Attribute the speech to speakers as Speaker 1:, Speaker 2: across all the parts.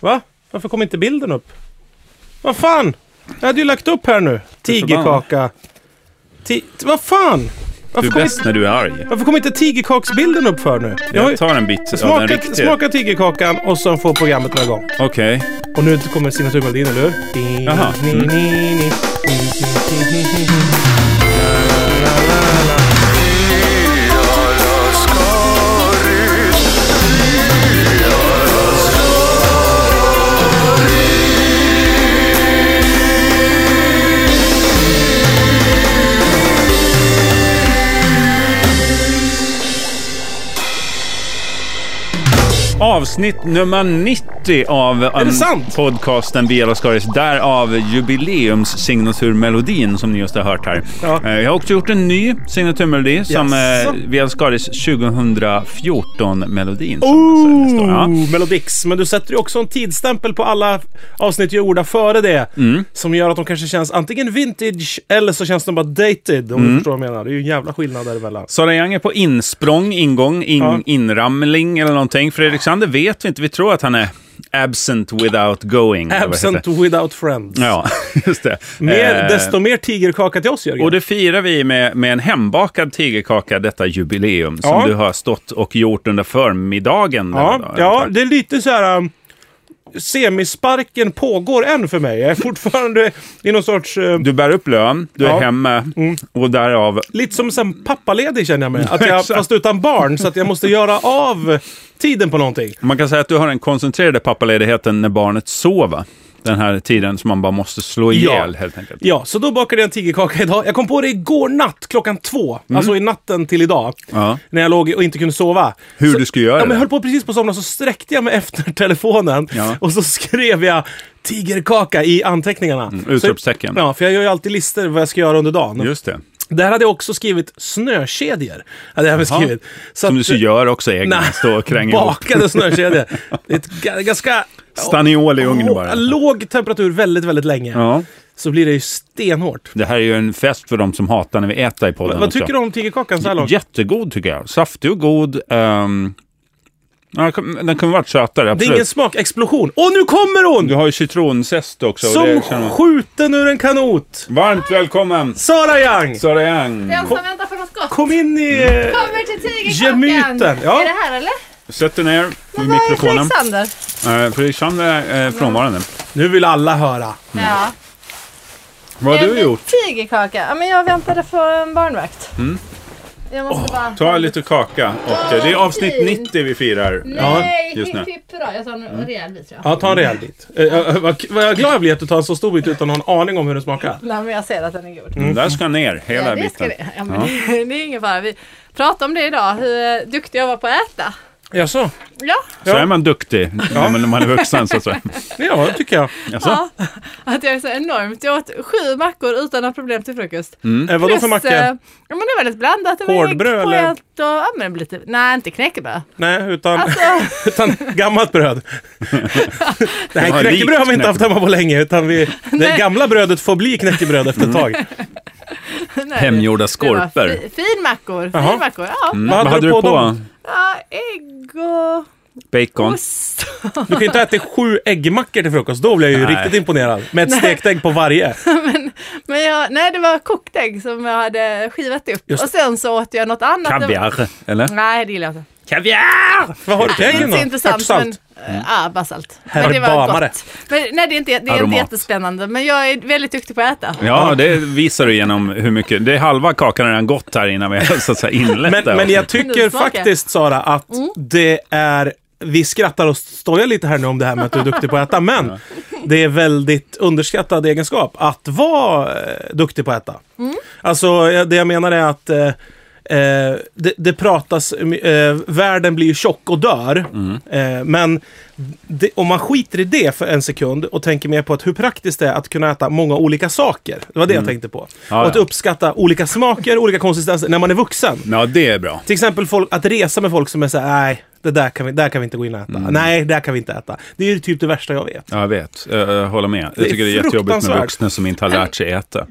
Speaker 1: Va? Varför kom inte bilden upp? Vad fan? Jag hade ju lagt upp här nu. Tigerkaka. Ti vad fan?
Speaker 2: Du
Speaker 1: Varför
Speaker 2: är
Speaker 1: kom,
Speaker 2: bäst
Speaker 1: inte,
Speaker 2: när du är arg.
Speaker 1: varför kom inte tigerkaksbilden upp för nu? Jag har ju-
Speaker 2: Jag tar en bit av den
Speaker 1: smaka,
Speaker 2: riktiga.
Speaker 1: smaka tigerkakan och så får programmet några gång.
Speaker 2: Okej.
Speaker 1: Och nu kommer signaturmelodin, eller hur?
Speaker 2: Jaha. Mm. Avsnitt nummer 90 av um,
Speaker 1: sant?
Speaker 2: podcasten Biela Skaris. Därav jubileumssignaturmelodin som ni just har hört här.
Speaker 1: Ja.
Speaker 2: Eh, Jag har också gjort en ny signaturmelodi som
Speaker 1: Jaså?
Speaker 2: eh, Biela Skaris 2014-melodin. Alltså, Ja.
Speaker 1: Oh, Melodix. Men du sätter ju också en tidsstämpel på alla avsnitt jag gjorde före det.
Speaker 2: Mm.
Speaker 1: Som gör att de kanske känns antingen vintage eller så känns de bara dated. Om du
Speaker 2: Mm.
Speaker 1: förstår vad jag menar. Det är ju en jävla skillnad däremellan.
Speaker 2: Sara Young är på insprång, ingång, in,
Speaker 1: Ja.
Speaker 2: inramling eller någonting. Fredrik Sander vet vi inte. Vi tror att han är absent without going. eller vad det
Speaker 1: Absent
Speaker 2: heter.
Speaker 1: without friends.
Speaker 2: Ja, just det.
Speaker 1: Mer,
Speaker 2: Eh,
Speaker 1: Desto mer tigerkaka till oss Jörgen.
Speaker 2: Och det firar vi med, med en hembakad tigerkaka, detta jubileum som
Speaker 1: Ja.
Speaker 2: du har stått och gjort under förmiddagen. denna
Speaker 1: ja,
Speaker 2: dag.
Speaker 1: ja, det är lite så här... um, Semisparken pågår än för mig. Jag är fortfarande i någon sorts... eh,
Speaker 2: Du bär upp lön, du
Speaker 1: Ja. Mm.
Speaker 2: är hemma och därav...
Speaker 1: Lite som sen pappaledig känner jag mig. Att jag,
Speaker 2: Exakt.
Speaker 1: fast utan barn, så att jag måste göra av tiden på någonting.
Speaker 2: Man kan säga att du har den koncentrerade pappaledigheten när barnet sover. Den här tiden som man bara måste slå ihjäl helt enkelt.
Speaker 1: Ja, så då bakade jag en tigerkaka idag. Jag kom på det igår natt klockan två. Alltså i natten till idag.
Speaker 2: Mm. Ja.
Speaker 1: När jag låg och inte kunde sova.
Speaker 2: Hur
Speaker 1: så,
Speaker 2: du skulle göra
Speaker 1: Ja, men
Speaker 2: det.
Speaker 1: jag höll på precis på att somna så sträckte jag mig efter telefonen.
Speaker 2: Ja.
Speaker 1: Och så skrev jag tigerkaka i anteckningarna. Mm,
Speaker 2: utropstecken.
Speaker 1: Ja, för jag gör ju alltid listor vad jag ska göra under dagen.
Speaker 2: Just det.
Speaker 1: Där hade jag också skrivit snökedjor. Hade jag även
Speaker 2: Jaha.
Speaker 1: skrivit. Så
Speaker 2: Som
Speaker 1: att-
Speaker 2: du så gör också egna,
Speaker 1: Nej.
Speaker 2: stå och kränga ihop.
Speaker 1: bakade snökedjor. Det är ett ga- ganska...
Speaker 2: Staniol i ugnen bara.
Speaker 1: Låg temperatur väldigt, väldigt länge.
Speaker 2: Ja.
Speaker 1: Så blir det ju stenhårt.
Speaker 2: Det här är ju en fest för de som hatar när vi äter i podden
Speaker 1: Vad
Speaker 2: också.
Speaker 1: tycker du om tigerkakan så här långt?
Speaker 2: Jättegod tycker jag. Saftig och god. ehm, ja, den kunde varit sötare,
Speaker 1: Det
Speaker 2: absolut.
Speaker 1: är ingen smakexplosion. Och nu kommer
Speaker 2: Du
Speaker 1: hon!
Speaker 2: har ju citronzest också. och
Speaker 1: Som
Speaker 2: det känner man-
Speaker 1: skjuten ur en kanot!
Speaker 2: Varmt välkommen,
Speaker 1: Sara Young!
Speaker 2: Sara Young.
Speaker 3: Den som väntar på något gott
Speaker 1: Kom in i... eh,
Speaker 3: kommer till
Speaker 1: Gemyten,
Speaker 3: tigerkakan.
Speaker 1: ja.
Speaker 3: Är det här eller?
Speaker 2: Sätt dig ner vid
Speaker 3: Vad är
Speaker 2: mikrofonen.
Speaker 3: Alexander?
Speaker 2: Eh, Fredrik Sand är eh, frånvarande.
Speaker 1: Nu vill alla höra.
Speaker 3: Ja.
Speaker 2: Mm. Vad har du
Speaker 3: En
Speaker 2: gjort? Mm.
Speaker 3: Tigerkaka. Ja, men jag väntade på en barnvakt. Jag måste bara...
Speaker 2: Ta lite kaka. Och, eh, det är avsnitt
Speaker 3: fint.
Speaker 2: 90 vi firar. eh,
Speaker 3: Nej,
Speaker 2: just nu. Mm.
Speaker 3: hipp hipp hurra. Jag tar en rejäl bit tror jag.
Speaker 1: Ja, ta en rejäl bit. Eh, eh, Vad vad jag är glad jag blir att du tar en så stor bit utan att ha en aning om hur den smakar.
Speaker 3: Nej, men jag ser att den är god.
Speaker 2: Den där ska ner, Mm, hela
Speaker 3: Ja, det, ska
Speaker 2: biten.
Speaker 3: det. Ja, men det är ingen fara. Vi pratade om det idag, hur eh, duktig jag var på att äta.
Speaker 1: Jaså?
Speaker 3: Ja,
Speaker 2: Så är man duktig ja. men när man är vuxen så att säga.
Speaker 1: Ja, det tycker jag.
Speaker 2: Jaså?
Speaker 3: ja. Att jag är så enormt. Jag åt sju mackor utan några problem till frukost.
Speaker 1: Eh, Vadå för
Speaker 3: Plus,
Speaker 1: macka?
Speaker 3: eh, Ja men det var väldigt blandat. Det var
Speaker 1: Hårdbröd, eller?
Speaker 3: äggpåät Och, ja men lite, nej inte knäckebröd.
Speaker 1: Nej, utan,
Speaker 3: Alltså,
Speaker 1: utan gammalt bröd. Det
Speaker 2: Ja,
Speaker 1: här knäckebröd har vi
Speaker 2: likt
Speaker 1: inte haft hemma på länge, utan vi, det gamla brödet får bli knäckebröd efter ett tag.
Speaker 3: nej,
Speaker 2: Hemgjorda
Speaker 3: det var
Speaker 2: skorpor.
Speaker 3: Fi, finmackor,
Speaker 1: Jaha.
Speaker 3: finmackor. Ja.
Speaker 2: Mm. Vad hade du på?
Speaker 1: dem?
Speaker 3: ja, ägg och
Speaker 2: Bacon.
Speaker 3: ost.
Speaker 1: Du kan ju inte äta sju äggmackor till frukost, då blir jag ju
Speaker 2: Nej.
Speaker 1: riktigt imponerad. Med ett stekt ägg på varje.
Speaker 3: Men jag, nej det var kokt ägg som jag hade skivat upp.
Speaker 1: Just
Speaker 3: Och sen så åt jag något annat.
Speaker 2: Kaviar, eller?
Speaker 3: Nej det gillar jag inte.
Speaker 2: Kaviar!
Speaker 1: Vad har du till
Speaker 3: Det är
Speaker 1: äggen
Speaker 3: inte
Speaker 1: då?
Speaker 3: så intressant. Men,
Speaker 1: Örtsalt?
Speaker 2: Mm.
Speaker 3: eh, ja, bara salt.
Speaker 1: Här
Speaker 3: Men det
Speaker 1: är
Speaker 3: var
Speaker 1: bamare.
Speaker 3: gott. Men, nej det är, inte, det är inte
Speaker 2: Aromat.
Speaker 3: jättespännande. Men jag är väldigt duktig på att äta.
Speaker 2: Ja, det visar du genom hur mycket. Det är halva kakan har redan gått här innan vi har så att säga inlett det.
Speaker 1: Men, men jag tycker
Speaker 3: Nu smakar.
Speaker 1: faktiskt Sara att det är vi skrattar och stojar lite här nu om det här med att du är duktig på att äta, men det är väldigt underskattad egenskap att vara eh, duktig på att äta. Alltså, eh, det jag menar är att eh, eh, det, det pratas, eh, världen blir ju tjock och dör,
Speaker 2: Mm.
Speaker 1: eh, men det, om man skiter i det för en sekund och tänker mer på att hur praktiskt det är att kunna äta många olika saker. Det var det jag tänkte på.
Speaker 2: Mm. Ja,
Speaker 1: och att
Speaker 2: ja.
Speaker 1: uppskatta olika smaker, olika konsistenser när man är vuxen.
Speaker 2: Ja, det är bra.
Speaker 1: Till exempel folk, att resa med folk som är så här, nej, det där kan vi, där kan vi inte gå in och
Speaker 2: Mm.
Speaker 1: äta. Nej, där kan vi inte äta. Det är ju typ det värsta jag vet.
Speaker 2: Ja, jag vet. Jag, jag håller med.
Speaker 1: Det är
Speaker 2: Jag tycker det är jättejobbigt med
Speaker 1: fruktansvärt.
Speaker 2: vuxna som inte har lärt sig äta.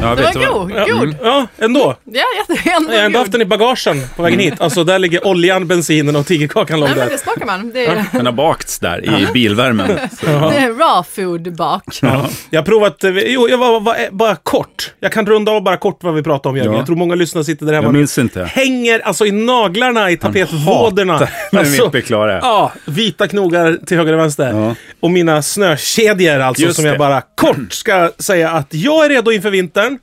Speaker 2: Ja,
Speaker 3: Det
Speaker 2: vet
Speaker 3: var
Speaker 2: du vad? Mm.
Speaker 3: god,
Speaker 1: Ja, mm.
Speaker 3: god.
Speaker 1: ja ändå.
Speaker 3: Ja, jätte, ändå
Speaker 1: Jag har ändå haft
Speaker 3: god.
Speaker 1: den i bagagen på vägen
Speaker 2: Mm.
Speaker 1: hit. Alltså där ligger oljan, bensinen och tigerkakan låg
Speaker 3: Nej, men
Speaker 1: där.
Speaker 3: det smakar man. Det är,
Speaker 2: Den har bakts där i bilvärmen.
Speaker 3: det är raw food bak.
Speaker 2: Ja.
Speaker 1: Jag har provat, eh, jo, jag var, var, bara kort. Jag kan runda av bara kort vad vi pratar om Jörgen.
Speaker 2: Ja.
Speaker 1: Jag tror många lyssnare sitter där hemma
Speaker 2: Jag
Speaker 1: nu.
Speaker 2: minns inte.
Speaker 1: Hänger alltså i naglarna, i tapetvådorna.
Speaker 2: Med
Speaker 1: Alltså,
Speaker 2: Vippe Klara.
Speaker 1: ja, vita knogar till höger och vänster.
Speaker 2: Ja.
Speaker 1: Och mina snökedjor alltså,
Speaker 2: Just
Speaker 1: som jag
Speaker 2: det.
Speaker 1: bara kort ska säga att jag är redo inför vintern.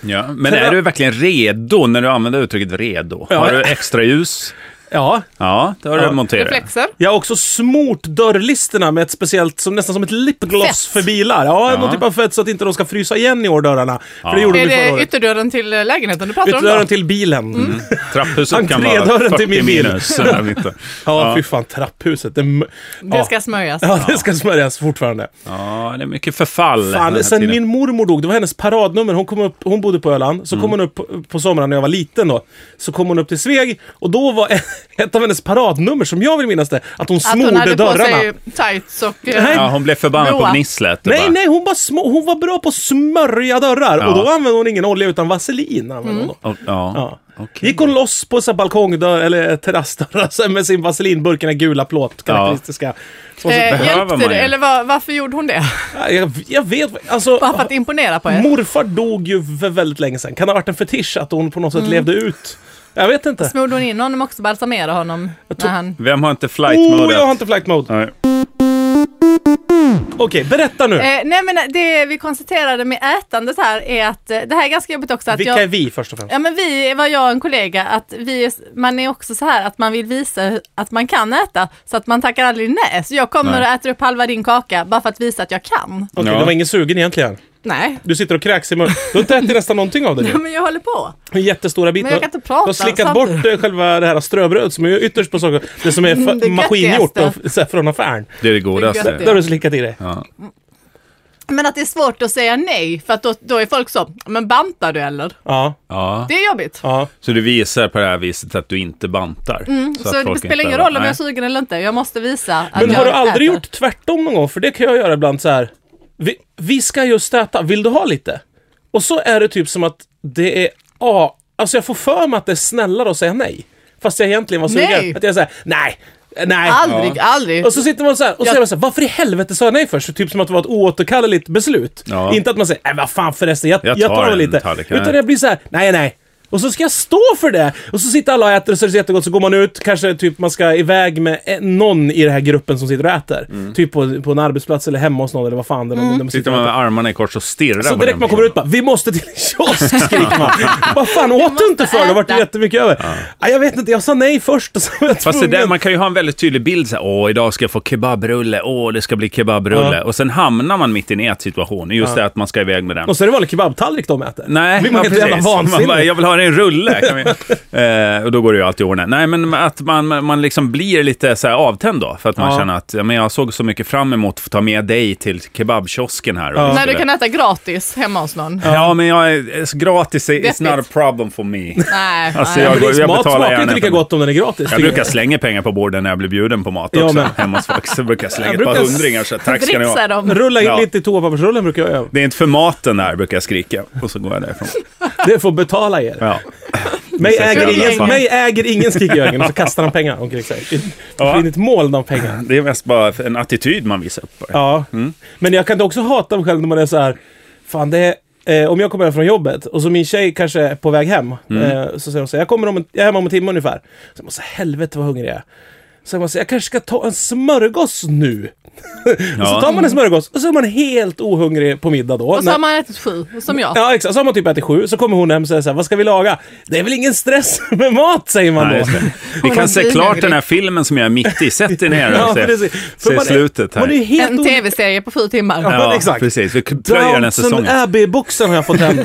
Speaker 2: Ja, men
Speaker 1: För
Speaker 2: är
Speaker 1: jag-
Speaker 2: du verkligen redo när du använder uttrycket redo?
Speaker 1: Ja.
Speaker 2: Har du extra ljus?
Speaker 1: Ja,
Speaker 2: Ja, det har
Speaker 1: Ja.
Speaker 2: du monterat.
Speaker 3: Reflexer.
Speaker 1: Jag har också smort dörrlisterna med ett speciellt, som, nästan som ett lipgloss
Speaker 3: Fett.
Speaker 1: för bilar. Ja,
Speaker 2: Ja.
Speaker 1: någon typ av fett så att inte de ska frysa igen i år, dörrarna. För det gjorde
Speaker 3: Är
Speaker 1: de ju förra
Speaker 3: det
Speaker 1: året.
Speaker 3: ytterdörren till eh, lägenheten du pratar om
Speaker 1: Ytterdörren
Speaker 3: då? Mm.
Speaker 1: till bilen.
Speaker 2: Trapphuset kan
Speaker 1: Entrédörren
Speaker 2: vara
Speaker 1: till
Speaker 2: 40
Speaker 1: min bil.
Speaker 2: minus. sen är det inte.
Speaker 1: Ja, fy fan, trapphuset. Det, m-
Speaker 3: Det ska smörjas.
Speaker 1: ja, det ska smörjas fortfarande.
Speaker 2: Ja, det är mycket förfall. den här
Speaker 1: Fan, sen
Speaker 2: tiden.
Speaker 1: min mormor dog, det var hennes paradnummer. Hon, kom upp, hon bodde på Öland,
Speaker 2: Mm.
Speaker 1: så kom hon upp på- på sommaren när jag var liten då. Så kom hon upp till Sveg och då var ett av hennes paradnummer, som jag vill minnas det, att hon
Speaker 3: Att hon
Speaker 1: smorde
Speaker 3: hade på
Speaker 1: dörrarna.
Speaker 3: sig tights och... eh,
Speaker 1: Nej.
Speaker 2: Ja, hon blev förbannad på
Speaker 3: Blåa.
Speaker 2: gnisslet. och
Speaker 1: Nej,
Speaker 2: bara,
Speaker 1: nej, hon var, små, hon var bra på att smörja dörrar.
Speaker 2: Ja.
Speaker 1: Och då använde hon ingen olja utan vaselin. Använde hon
Speaker 3: Mm.
Speaker 1: då.
Speaker 2: och- ja.
Speaker 1: Ja.
Speaker 2: Okej.
Speaker 1: Gick hon loss på så här balkongdörr eller terrassdörrar så här med sin vaselinburk, den här gula plåt, karaktäristiska. Så-
Speaker 3: Eh,
Speaker 2: behöver
Speaker 3: hjälpte
Speaker 2: man
Speaker 3: du?
Speaker 2: ju.
Speaker 3: Eller var, varför gjorde hon det?
Speaker 1: jag, jag vet, alltså.
Speaker 3: Bara för att imponera på er?
Speaker 1: Morfar dog ju för väldigt länge sedan. Kan det ha varit en fetisch att hon på något sätt
Speaker 3: Mm.
Speaker 1: levde ut? Jag vet inte.
Speaker 3: Smorde hon in honom också? Balsamerade honom? När han...
Speaker 2: Vem har inte
Speaker 1: Oh,
Speaker 2: flight-modet?
Speaker 1: jag har inte flight mode.
Speaker 2: Nej.
Speaker 1: Okej, berätta nu.
Speaker 3: Eh, nej men det vi konstaterade med ätandet här är att eh, det här är ganska jobbigt också. Att
Speaker 1: Vilka
Speaker 3: jag,
Speaker 1: är vi först och främst?
Speaker 3: Ja men vi var jag och en kollega att vi, är- man är också så här att man vill visa hur- att man kan äta så att man tackar aldrig nej. Så jag kommer
Speaker 2: Nej.
Speaker 3: och äter upp halva din kaka bara för att visa att jag kan.
Speaker 1: Okej,
Speaker 2: Ja.
Speaker 1: det var ingen sugen egentligen.
Speaker 3: Nej.
Speaker 1: Du sitter och kräks i munnen. Du har inte ätit nästan någonting av det nu.
Speaker 3: Ja, men jag håller på.
Speaker 1: En jättestora bit.
Speaker 3: Men jag kan inte prata
Speaker 1: De har slickat
Speaker 3: samtidigt.
Speaker 1: bort eh, själva det här ströbrödet som är ytterst på saker. Det som är
Speaker 3: Mm,
Speaker 1: fa-
Speaker 3: det
Speaker 1: maskingjort
Speaker 3: göttigaste.
Speaker 1: och, så här, från affären.
Speaker 2: Det är det
Speaker 3: Det är
Speaker 1: Det
Speaker 2: godaste.
Speaker 3: gött.
Speaker 1: har du slickat i dig.
Speaker 2: Ja.
Speaker 3: Men att det är svårt att säga nej för att då, då är folk så, men bantar du eller?
Speaker 1: Ja,
Speaker 2: Ja.
Speaker 3: Det är jobbigt.
Speaker 1: ja.
Speaker 2: Så du visar på det här viset att du inte bantar.
Speaker 3: Mm, Så, det spelar ingen roll om jag är sugen eller inte, jag måste visa att
Speaker 1: Men
Speaker 3: jag
Speaker 1: har du aldrig
Speaker 3: äter.
Speaker 1: gjort tvärtom någon gång? För det kan jag göra ibland så här. Vi, vi ska just äta, vill du ha lite? Och så är det typ som att det är, ja, alltså jag får för mig att det är snällare att säga nej. Fast jag egentligen var sugen.
Speaker 3: Nej.
Speaker 1: Att jag säger nej, nej.
Speaker 3: Aldrig, aldrig.
Speaker 1: Och så sitter man så här och
Speaker 3: Ja.
Speaker 1: säger man så här, varför i helvete sa jag nej först? Så typ som att det var ett oåterkalleligt beslut.
Speaker 2: Ja.
Speaker 1: Inte att man säger, nej vad fan förresten, jag, jag,
Speaker 2: Jag
Speaker 1: tar,
Speaker 2: tar
Speaker 1: väl
Speaker 2: en
Speaker 1: lite.
Speaker 2: tallrik, nej.
Speaker 1: Utan det blir så här, nej nej. Och så ska jag stå för det! Och så sitter alla och äter och så är det så jättegott, så går man ut, kanske typ man ska iväg med eh, någon i den här gruppen som sitter och äter. Typ på, på en arbetsplats eller hemma hos någon eller vad fan det är. Mm. De
Speaker 2: Mm. Sitter
Speaker 1: och
Speaker 2: man
Speaker 1: äter.
Speaker 2: med armarna i kors och stirrar
Speaker 1: Så
Speaker 2: på
Speaker 1: direkt
Speaker 2: den
Speaker 1: man kommer ut bara, vi måste till en kiosk skriker man. Vad fan åt du inte för? Det har varit
Speaker 3: äta.
Speaker 1: jättemycket över. Ja. Jag vet inte, jag sa nej först och så var jag
Speaker 2: Fast det där,
Speaker 1: tvungen.
Speaker 2: man kan ju ha en väldigt tydlig bild så här, åh idag ska jag få kebabrulle, åh det ska bli kebabrulle.
Speaker 1: Ja.
Speaker 2: Och sen hamnar man mitt i en ätsituation, just det att man ska iväg med den.
Speaker 1: Och så är det vanlig kebabtallrik de äter.
Speaker 2: Nej,
Speaker 1: Blir man
Speaker 2: ja,
Speaker 1: helt jävla
Speaker 2: precis. Man
Speaker 1: vansinnig?
Speaker 2: bara, jag vill ha en rulle. Kan vi... eh, och då går det ju alltid i ordning. Nej, men att man, man- man liksom blir lite så här avtänd då. För att man
Speaker 1: Ja.
Speaker 2: känner att ja, men jag såg så mycket fram emot att få ta med dig till kebabkiosken här. Och vi
Speaker 3: När du
Speaker 2: skulle-
Speaker 3: kan äta gratis hemma hos någon.
Speaker 1: Alltså,
Speaker 2: Ja, men jag är, eh, gratis
Speaker 3: Vettigt.
Speaker 2: is not a problem for me.
Speaker 3: Nej,
Speaker 2: Alltså,
Speaker 3: nej.
Speaker 2: jag-
Speaker 1: Precis,
Speaker 2: går-
Speaker 1: mat
Speaker 2: betalar
Speaker 1: smakar
Speaker 2: gärna
Speaker 1: inte lika
Speaker 2: för mig.
Speaker 1: gott om den är gratis.
Speaker 2: Jag brukar slänga pengar på borden när jag blir bjuden på mat
Speaker 1: Ja,
Speaker 2: också.
Speaker 1: men-
Speaker 2: Hemma hos folk så brukar jag slänga
Speaker 1: Jag
Speaker 2: ett
Speaker 1: brukar
Speaker 2: par hundringar. Så här, tack ska ni
Speaker 3: Dricksar
Speaker 2: ha.
Speaker 3: dem.
Speaker 1: Rulla in
Speaker 2: Ja.
Speaker 1: lite i toapappersrullen brukar jag göra.
Speaker 2: Det är inte för maten där, brukar jag skrika. Och så går jag därifrån.
Speaker 1: Det får betala er.
Speaker 2: Ja.
Speaker 1: Mig
Speaker 2: Det är
Speaker 1: äger,
Speaker 2: säkert
Speaker 1: ingen,
Speaker 2: jättebra.
Speaker 1: mig äger ingen skrikjörgen och så kastar han pengar omkring sig. I-
Speaker 2: Ja.
Speaker 1: In i ett moln av pengar.
Speaker 2: Det är mest bara en attityd man visar upp. bara.
Speaker 1: Ja. Men jag kan också hata mig själv när man är så här. Fan, det är, eh, om jag kommer hem från jobbet och så min tjej kanske är på väg hem.
Speaker 2: Mm.
Speaker 1: Eh, så säger hon så här, jag, kommer om en, jag är hemma om en timme ungefär. Så jag bara, så helvete vad hungrig jag är. Så man säger, jag kanske ska ta en smörgås nu. Och så
Speaker 2: Ja.
Speaker 1: tar man en smörgås och så är man helt ohungrig på middag då.
Speaker 3: Och så
Speaker 1: När-
Speaker 3: har man ätit sju, som jag.
Speaker 1: Ja exakt, så har man typ ätit sju, så kommer hon hem och säger så här, vad ska vi laga? Det är väl ingen stress med mat säger man
Speaker 2: Nej,
Speaker 1: då.
Speaker 2: just det. Vi
Speaker 3: man
Speaker 2: kan se
Speaker 3: blir
Speaker 2: klart
Speaker 3: hungrig.
Speaker 2: den här filmen som jag är mitt i. Sätt er ner och se,
Speaker 1: För
Speaker 2: se
Speaker 1: man är-
Speaker 2: slutet
Speaker 1: Man är
Speaker 2: här.
Speaker 1: ju helt
Speaker 3: En
Speaker 1: o-
Speaker 3: tv-serie på sju timmar.
Speaker 1: Ja. exakt.
Speaker 2: precis. Vi plöjer den här
Speaker 1: Downton
Speaker 2: säsongen.
Speaker 1: Abbey-boxen har jag fått hem.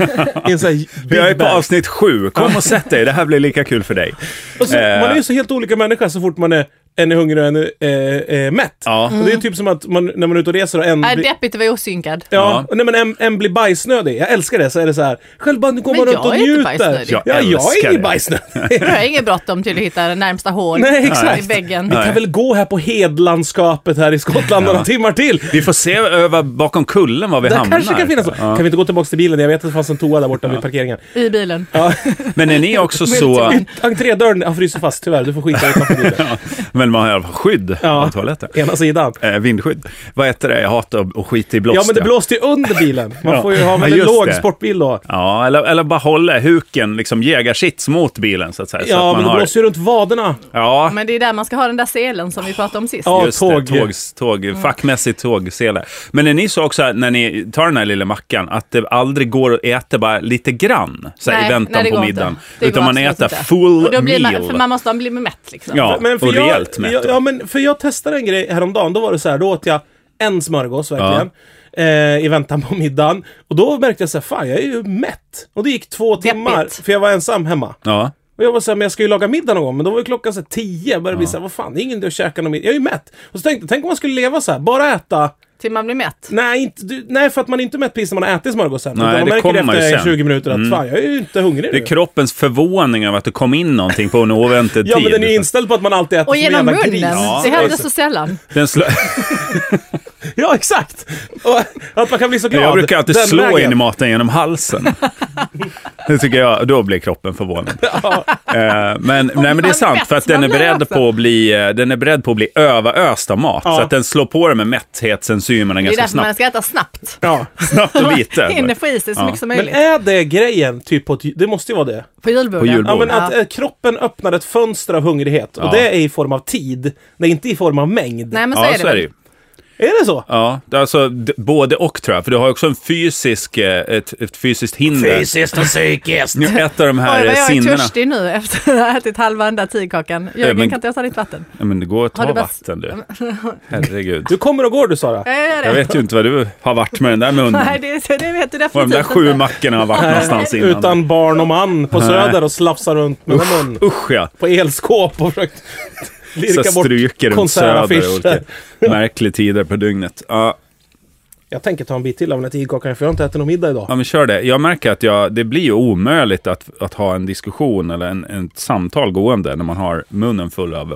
Speaker 1: I en sån här
Speaker 2: Vi är
Speaker 1: big
Speaker 2: på
Speaker 1: bag.
Speaker 2: avsnitt sju. Kom och sätt dig. Det här blir lika kul för dig.
Speaker 1: Och så,
Speaker 2: eh.
Speaker 1: Man är ju så helt olika människa så fort man är en är hungrig och en är eh, eh, mätt.
Speaker 2: Ja.
Speaker 1: Och det är typ som att man, när man är ute och reser och en...
Speaker 3: Är
Speaker 1: blir-
Speaker 3: deppigt att vara osynkad.
Speaker 1: Ja,
Speaker 2: Ja.
Speaker 1: nej men en, en blir bajsnödig. Jag älskar det. Så är det så här, själv bara, nu går
Speaker 3: Men
Speaker 1: man runt
Speaker 3: jag
Speaker 1: och
Speaker 3: är inte
Speaker 1: njuter.
Speaker 3: bajsnödig.
Speaker 1: Ja,
Speaker 2: Jag
Speaker 1: jag är
Speaker 2: älskar
Speaker 1: ingen
Speaker 2: det.
Speaker 1: bajsnödig.
Speaker 3: Du har inget bråttom till att hitta det närmsta hål
Speaker 1: Nej,
Speaker 3: i
Speaker 1: exakt.
Speaker 3: väggen.
Speaker 1: Vi kan väl gå här på hedlandskapet här i Skottland några timmar till.
Speaker 2: Vi får se över bakom kullen var vi
Speaker 1: Där
Speaker 2: hamnar.
Speaker 1: kanske kan finnas något. Kan vi inte gå tillbaka till bilen? Jag vet att det fanns en toa där borta vid parkeringen.
Speaker 3: I bilen.
Speaker 1: Ja.
Speaker 2: Men är ni också så...
Speaker 3: Multiman.
Speaker 1: Entrédörren har frysit fast tyvärr. Du får skita utanför bilen.
Speaker 2: Men man har i alla fall skydd
Speaker 1: Ja.
Speaker 2: av toaletten.
Speaker 1: Ena sidan.
Speaker 2: Eh, vindskydd. Vad heter det? Jag hatar att skita i blåst.
Speaker 1: Ja men det blåste ju under bilen. Man
Speaker 2: Ja.
Speaker 1: får ju ha väl
Speaker 2: Ja,
Speaker 1: en
Speaker 2: just
Speaker 1: låg
Speaker 2: det.
Speaker 1: sportbil då.
Speaker 2: Ja, eller, eller bara hålla huken, liksom jägarsits mot bilen så att säga. så
Speaker 1: Ja
Speaker 2: att
Speaker 1: men
Speaker 2: man
Speaker 1: det
Speaker 2: har...
Speaker 1: blåser ju runt vaderna.
Speaker 2: Ja,
Speaker 3: Men det är där man ska ha den där selen som vi pratade om sist.
Speaker 1: Ja.
Speaker 2: just
Speaker 1: tåg. Mm.
Speaker 2: det. Tåg, tåg, Fackmässigt tågsele. Men är ni så också när ni tar den här lilla mackan, att det aldrig går att äta bara lite grann? Så här,
Speaker 3: Nej,
Speaker 2: i väntan
Speaker 3: nej, det
Speaker 2: på
Speaker 3: går
Speaker 2: middagen.
Speaker 3: inte. Det
Speaker 2: utan
Speaker 3: går
Speaker 2: man
Speaker 3: absolut
Speaker 2: äter
Speaker 3: inte. Och
Speaker 2: full
Speaker 3: då blir
Speaker 2: meal.
Speaker 3: man, för man måste man blir mätt liksom.
Speaker 2: Ja,
Speaker 1: Men för
Speaker 2: och
Speaker 1: jag,
Speaker 2: rejält mätt.
Speaker 1: jag,
Speaker 2: då.
Speaker 1: ja, men för jag testade en grej häromdagen. Då var det så här, då åt jag en smörgås verkligen. Eh, I väntan på middagen. Och då märkte jag så här, fan jag är ju mätt. Och det gick två timmar,
Speaker 3: Deppigt.
Speaker 1: för jag var ensam hemma.
Speaker 2: ja.
Speaker 1: Och jag var såhär, men jag ska ju laga middag någon gång. Men då var ju klockan såhär tio. Jag började bli såhär, vad fan, det är ingen idé att käka någon middag. Jag är ju mätt. Och så tänkte jag, tänk om man skulle leva så här, bara äta.
Speaker 3: Till man blir mätt.
Speaker 1: Nej, inte, du, nej för att man är inte mätt precis när man har ätit smörgåsen.
Speaker 2: Nej,
Speaker 1: Utan man
Speaker 2: det
Speaker 1: märker
Speaker 2: kommer ju
Speaker 1: efter
Speaker 2: sen. Mm.
Speaker 1: 20 minuter att fan, jag är ju inte hungrig
Speaker 2: Det är
Speaker 1: nu.
Speaker 2: kroppens förvåning över att det kom in någonting på en oväntad
Speaker 1: Ja,
Speaker 2: tid.
Speaker 1: men den är ju inställd på att man alltid äter
Speaker 3: Och
Speaker 1: som en
Speaker 3: genom
Speaker 1: jävla
Speaker 3: munnen.
Speaker 1: gris.
Speaker 3: Det händer
Speaker 1: Alltså.
Speaker 3: så sällan.
Speaker 2: Den slö...
Speaker 1: Ja, exakt! Och att man kan bli så glad.
Speaker 2: Jag brukar alltid
Speaker 1: den
Speaker 2: slå
Speaker 1: vägen.
Speaker 2: in i maten genom halsen. Det tycker jag, då blir kroppen förvånad. Eh, Men, nej, men det är
Speaker 3: man
Speaker 2: sant,
Speaker 3: vet,
Speaker 2: för att den är,
Speaker 3: man blir
Speaker 2: beredd
Speaker 3: också.
Speaker 2: på att bli, eh, den är beredd på att bli överöst av mat. Så att den slår på den med mätthetsenzymerna
Speaker 3: Det är
Speaker 2: ganska
Speaker 3: därför man
Speaker 2: snabbt.
Speaker 3: ska äta snabbt.
Speaker 1: Ja.
Speaker 2: Snabbt och lite.
Speaker 3: Hinner få i sig så
Speaker 2: Ja.
Speaker 3: mycket som
Speaker 1: Men
Speaker 3: möjligt.
Speaker 1: är det grejen, typ på ett, det måste ju vara det.
Speaker 3: på julbordet.
Speaker 2: På julbord.
Speaker 1: Ja, men
Speaker 3: Ja.
Speaker 1: att eh, kroppen öppnar ett fönster av hungrighet. Och
Speaker 2: Ja.
Speaker 1: det är i form av tid. Det är inte i form av mängd.
Speaker 3: Nej, men så
Speaker 2: Ja,
Speaker 3: är det,
Speaker 2: så är det
Speaker 3: väl.
Speaker 2: ju.
Speaker 1: Är det så?
Speaker 2: Ja, det är alltså d- både och tror jag. För du har ju också en fysisk, eh, ett, ett fysiskt hinder.
Speaker 1: och psykiskt.
Speaker 2: Nu Ett av de
Speaker 3: Oj,
Speaker 2: här
Speaker 3: vad
Speaker 2: eh,
Speaker 3: jag är
Speaker 2: sinnena.
Speaker 3: törstig nu efter att ha ätit halva den där tigerkakan. Jörgen,
Speaker 2: men-
Speaker 3: kan inte jag ta ditt vatten?
Speaker 2: Ja, men det går att
Speaker 3: Har
Speaker 2: ta
Speaker 3: det varit-
Speaker 2: vatten du. Herregud.
Speaker 1: Du kommer och går du Sara.
Speaker 3: Ja, jag gör det.
Speaker 2: Jag vet ju inte vad du har varit med den där munnen.
Speaker 3: Nej, det, det vet du
Speaker 2: Var
Speaker 3: definitivt
Speaker 2: de där sju
Speaker 3: inte.
Speaker 2: mackorna har varit någonstans innan.
Speaker 1: Utan barn och man på Söder och slafsar runt med mun.
Speaker 2: Usch ja.
Speaker 1: På elskåp och försökt
Speaker 2: Så
Speaker 1: lirka bort
Speaker 2: stryker runt söder och olika
Speaker 1: konsertaffischer.
Speaker 2: märkliga tider på dygnet. Ja,
Speaker 1: Jag tänker ta en bit till av den här tigerkakan för jag har inte ätit någon middag idag.
Speaker 2: ja, men kör det. Jag märker att jag, det blir ju omöjligt att, att ha en diskussion eller en, en samtal gående när man har munnen full av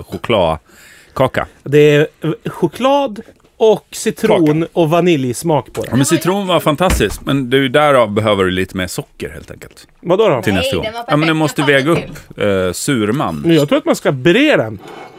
Speaker 2: chokladkaka.
Speaker 1: Det är eh, choklad och citron och vaniljsmak på
Speaker 2: Ja,
Speaker 1: den.
Speaker 2: men citron var fantastiskt, men det är ju därav behöver du lite mer socker helt enkelt.
Speaker 1: Vadå då?
Speaker 2: Till
Speaker 4: Nej,
Speaker 2: nästa gång.
Speaker 4: den var
Speaker 2: Ja, men du
Speaker 4: perfekt.
Speaker 2: måste
Speaker 4: Jag tar
Speaker 2: väga
Speaker 4: en
Speaker 2: upp eh, surman.
Speaker 1: Men jag tror att man ska bre den.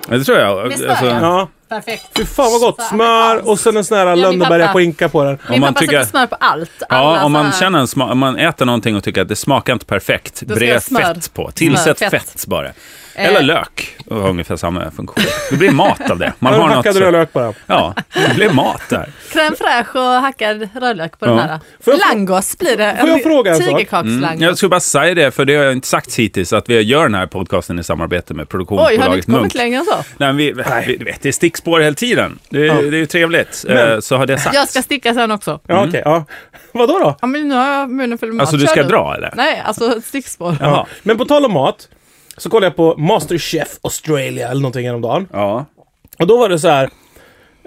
Speaker 2: Ja, Det tror jag.
Speaker 4: Visst var
Speaker 2: Alltså,
Speaker 4: det?
Speaker 1: Ja.
Speaker 4: Perfekt.
Speaker 1: Fy fan vad gott. Smör och sen en sån här
Speaker 3: min
Speaker 1: Lönneberga
Speaker 3: pappa.
Speaker 1: på inka på den.
Speaker 2: om
Speaker 3: Min
Speaker 2: man
Speaker 3: pappa
Speaker 2: tycker...
Speaker 3: sätter smör på allt.
Speaker 2: Ja,
Speaker 3: Alla
Speaker 2: om
Speaker 3: så
Speaker 2: man,
Speaker 3: här-
Speaker 2: känner en sma- om man äter någonting och tycker att det smakar inte perfekt,
Speaker 3: ska det vara
Speaker 2: bred
Speaker 3: smör.
Speaker 2: fett på. Tillsätt
Speaker 3: Smör,
Speaker 2: fett.
Speaker 3: fett.
Speaker 2: bara. Eller
Speaker 3: Eh.
Speaker 2: lök, och har ungefär samma funktion. Det blir mat av det. Man
Speaker 1: Har
Speaker 2: har
Speaker 1: du
Speaker 2: något
Speaker 1: hackad
Speaker 2: så-
Speaker 1: rödlök bara?
Speaker 2: Ja, det blir mat där.
Speaker 3: Crème fraîche och hackad rödlök på
Speaker 2: Ja.
Speaker 3: den här.
Speaker 1: Får jag frå-
Speaker 3: Langos blir det.
Speaker 1: Får jag fråga en sak? Mm,
Speaker 3: Tigerkakslangos.
Speaker 2: Jag skulle bara säga det, för det har jag inte sagt hittills, att vi gör den här podcasten i samarbete med
Speaker 3: Oj, har du
Speaker 2: produktionsbolaget
Speaker 3: inte kommit
Speaker 2: Munk.
Speaker 3: längre än så?
Speaker 2: Nej, men vi, vi, du vet, det är stickspår hela tiden. Det,
Speaker 1: Ja.
Speaker 2: det är ju trevligt. Eh, Så har det sagt.
Speaker 3: Jag ska sticka sen också.
Speaker 1: Ja
Speaker 2: Mm.
Speaker 1: okej, ja. Vadå då?
Speaker 3: Ja, men nu har jag munnen full med mat.
Speaker 2: Alltså, du
Speaker 3: Kör
Speaker 2: ska dra, eller?
Speaker 3: Nej, alltså ett stickspår.
Speaker 2: Ja.
Speaker 1: Ja. Men på tal om mat. Så kollade jag på Masterchef Australia eller någonting häromdagen.
Speaker 2: Ja.
Speaker 1: Och då var det så här.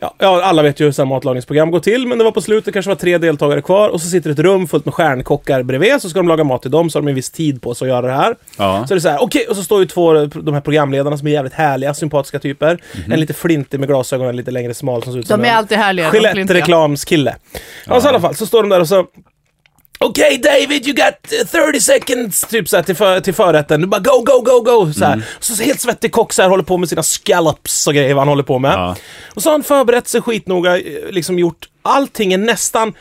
Speaker 1: Ja, ja, alla vet ju hur sådana matlagningsprogram går till, men det var på slutet, kanske var tre deltagare kvar och så sitter ett rum fullt med stjärnkockar bredvid, så ska de laga mat till dem, så har de en viss tid på sig att göra det här.
Speaker 2: Ja.
Speaker 1: Så det är så här, okej, och så står ju två eh, de här programledarna som är jävligt härliga, sympatiska typer.
Speaker 2: Mhm.
Speaker 1: En lite flintig med glasögon, en lite längre smal som ser ut som
Speaker 3: De är
Speaker 1: en-
Speaker 3: alltid härliga. de flintiga.
Speaker 1: Gillette-reklamskille. Ja, så i alla fall så står de där och så... Okej David, you got eh, 30 seconds! Typ såhär till, för, till förrätten. Du bara go, go, go, go! Så, här.
Speaker 2: Mm.
Speaker 1: så, så helt svettig kock så här, håller på med sina scallops och grejer vad han håller på med.
Speaker 2: Ja.
Speaker 1: Och så har han förberett sig skitnoga, eh, liksom gjort allting är nästan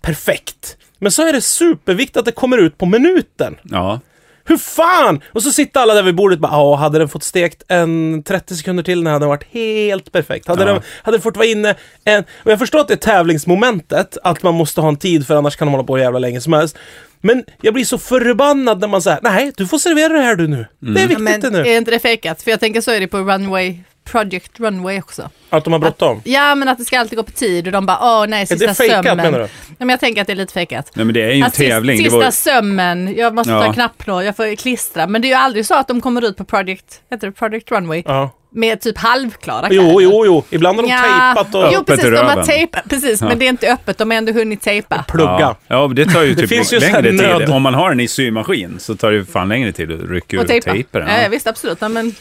Speaker 1: perfekt. Men så är det superviktigt att det kommer ut på minuten.
Speaker 2: Ja.
Speaker 1: Hur fan! Och så sitter alla där vid bordet och bara ja, hade den fått stekt en 30 sekunder till den hade den varit helt perfekt. Hade, den, hade den fått vara inne en... Och jag förstår att det är tävlingsmomentet, att man måste ha en tid för annars kan de hålla på hur jävla länge som helst. Men jag blir så förbannad när man säger nej, du får servera det här du nu. Det är viktigt
Speaker 3: Men
Speaker 1: det nu.
Speaker 3: är inte det fejkat? För jag tänker så är det på runway, Project Runway också.
Speaker 1: Att de har bråttom.
Speaker 3: Ja, men att det ska alltid gå på tid och de bara åh nej, sista
Speaker 1: det fejkat,
Speaker 3: sömmen.
Speaker 1: menar du?
Speaker 3: Nej, men jag tänker att det är lite fejkat.
Speaker 2: Nej, men det är ju en
Speaker 3: Att sist-
Speaker 2: tävling. Det
Speaker 3: Alltså, Sista
Speaker 2: var-
Speaker 3: sömmen, jag måste
Speaker 2: Ja.
Speaker 3: ta knappnål, jag får klistra. Men det är ju aldrig så att de kommer ut på Project, heter det Project Runway?
Speaker 1: Ja.
Speaker 3: med typ halvklara kläder.
Speaker 1: Jo, jo, jo. Ibland har de tejpat och
Speaker 3: Jo,
Speaker 2: Öppet
Speaker 3: precis,
Speaker 2: i
Speaker 3: de har
Speaker 2: röven.
Speaker 3: tejpat, precis, men det är inte öppet, de har ändå hunnit tejpa.
Speaker 1: plugga.
Speaker 2: Ja, ja men det tar ju typ
Speaker 1: finns ju så här
Speaker 2: längre
Speaker 1: nöd-
Speaker 2: tid. Om man har den i symaskin så tar det ju fan längre tid att rycka ur
Speaker 3: Och tejpa.
Speaker 2: tejpen.
Speaker 3: Ja, visst, absolut. Ja, men,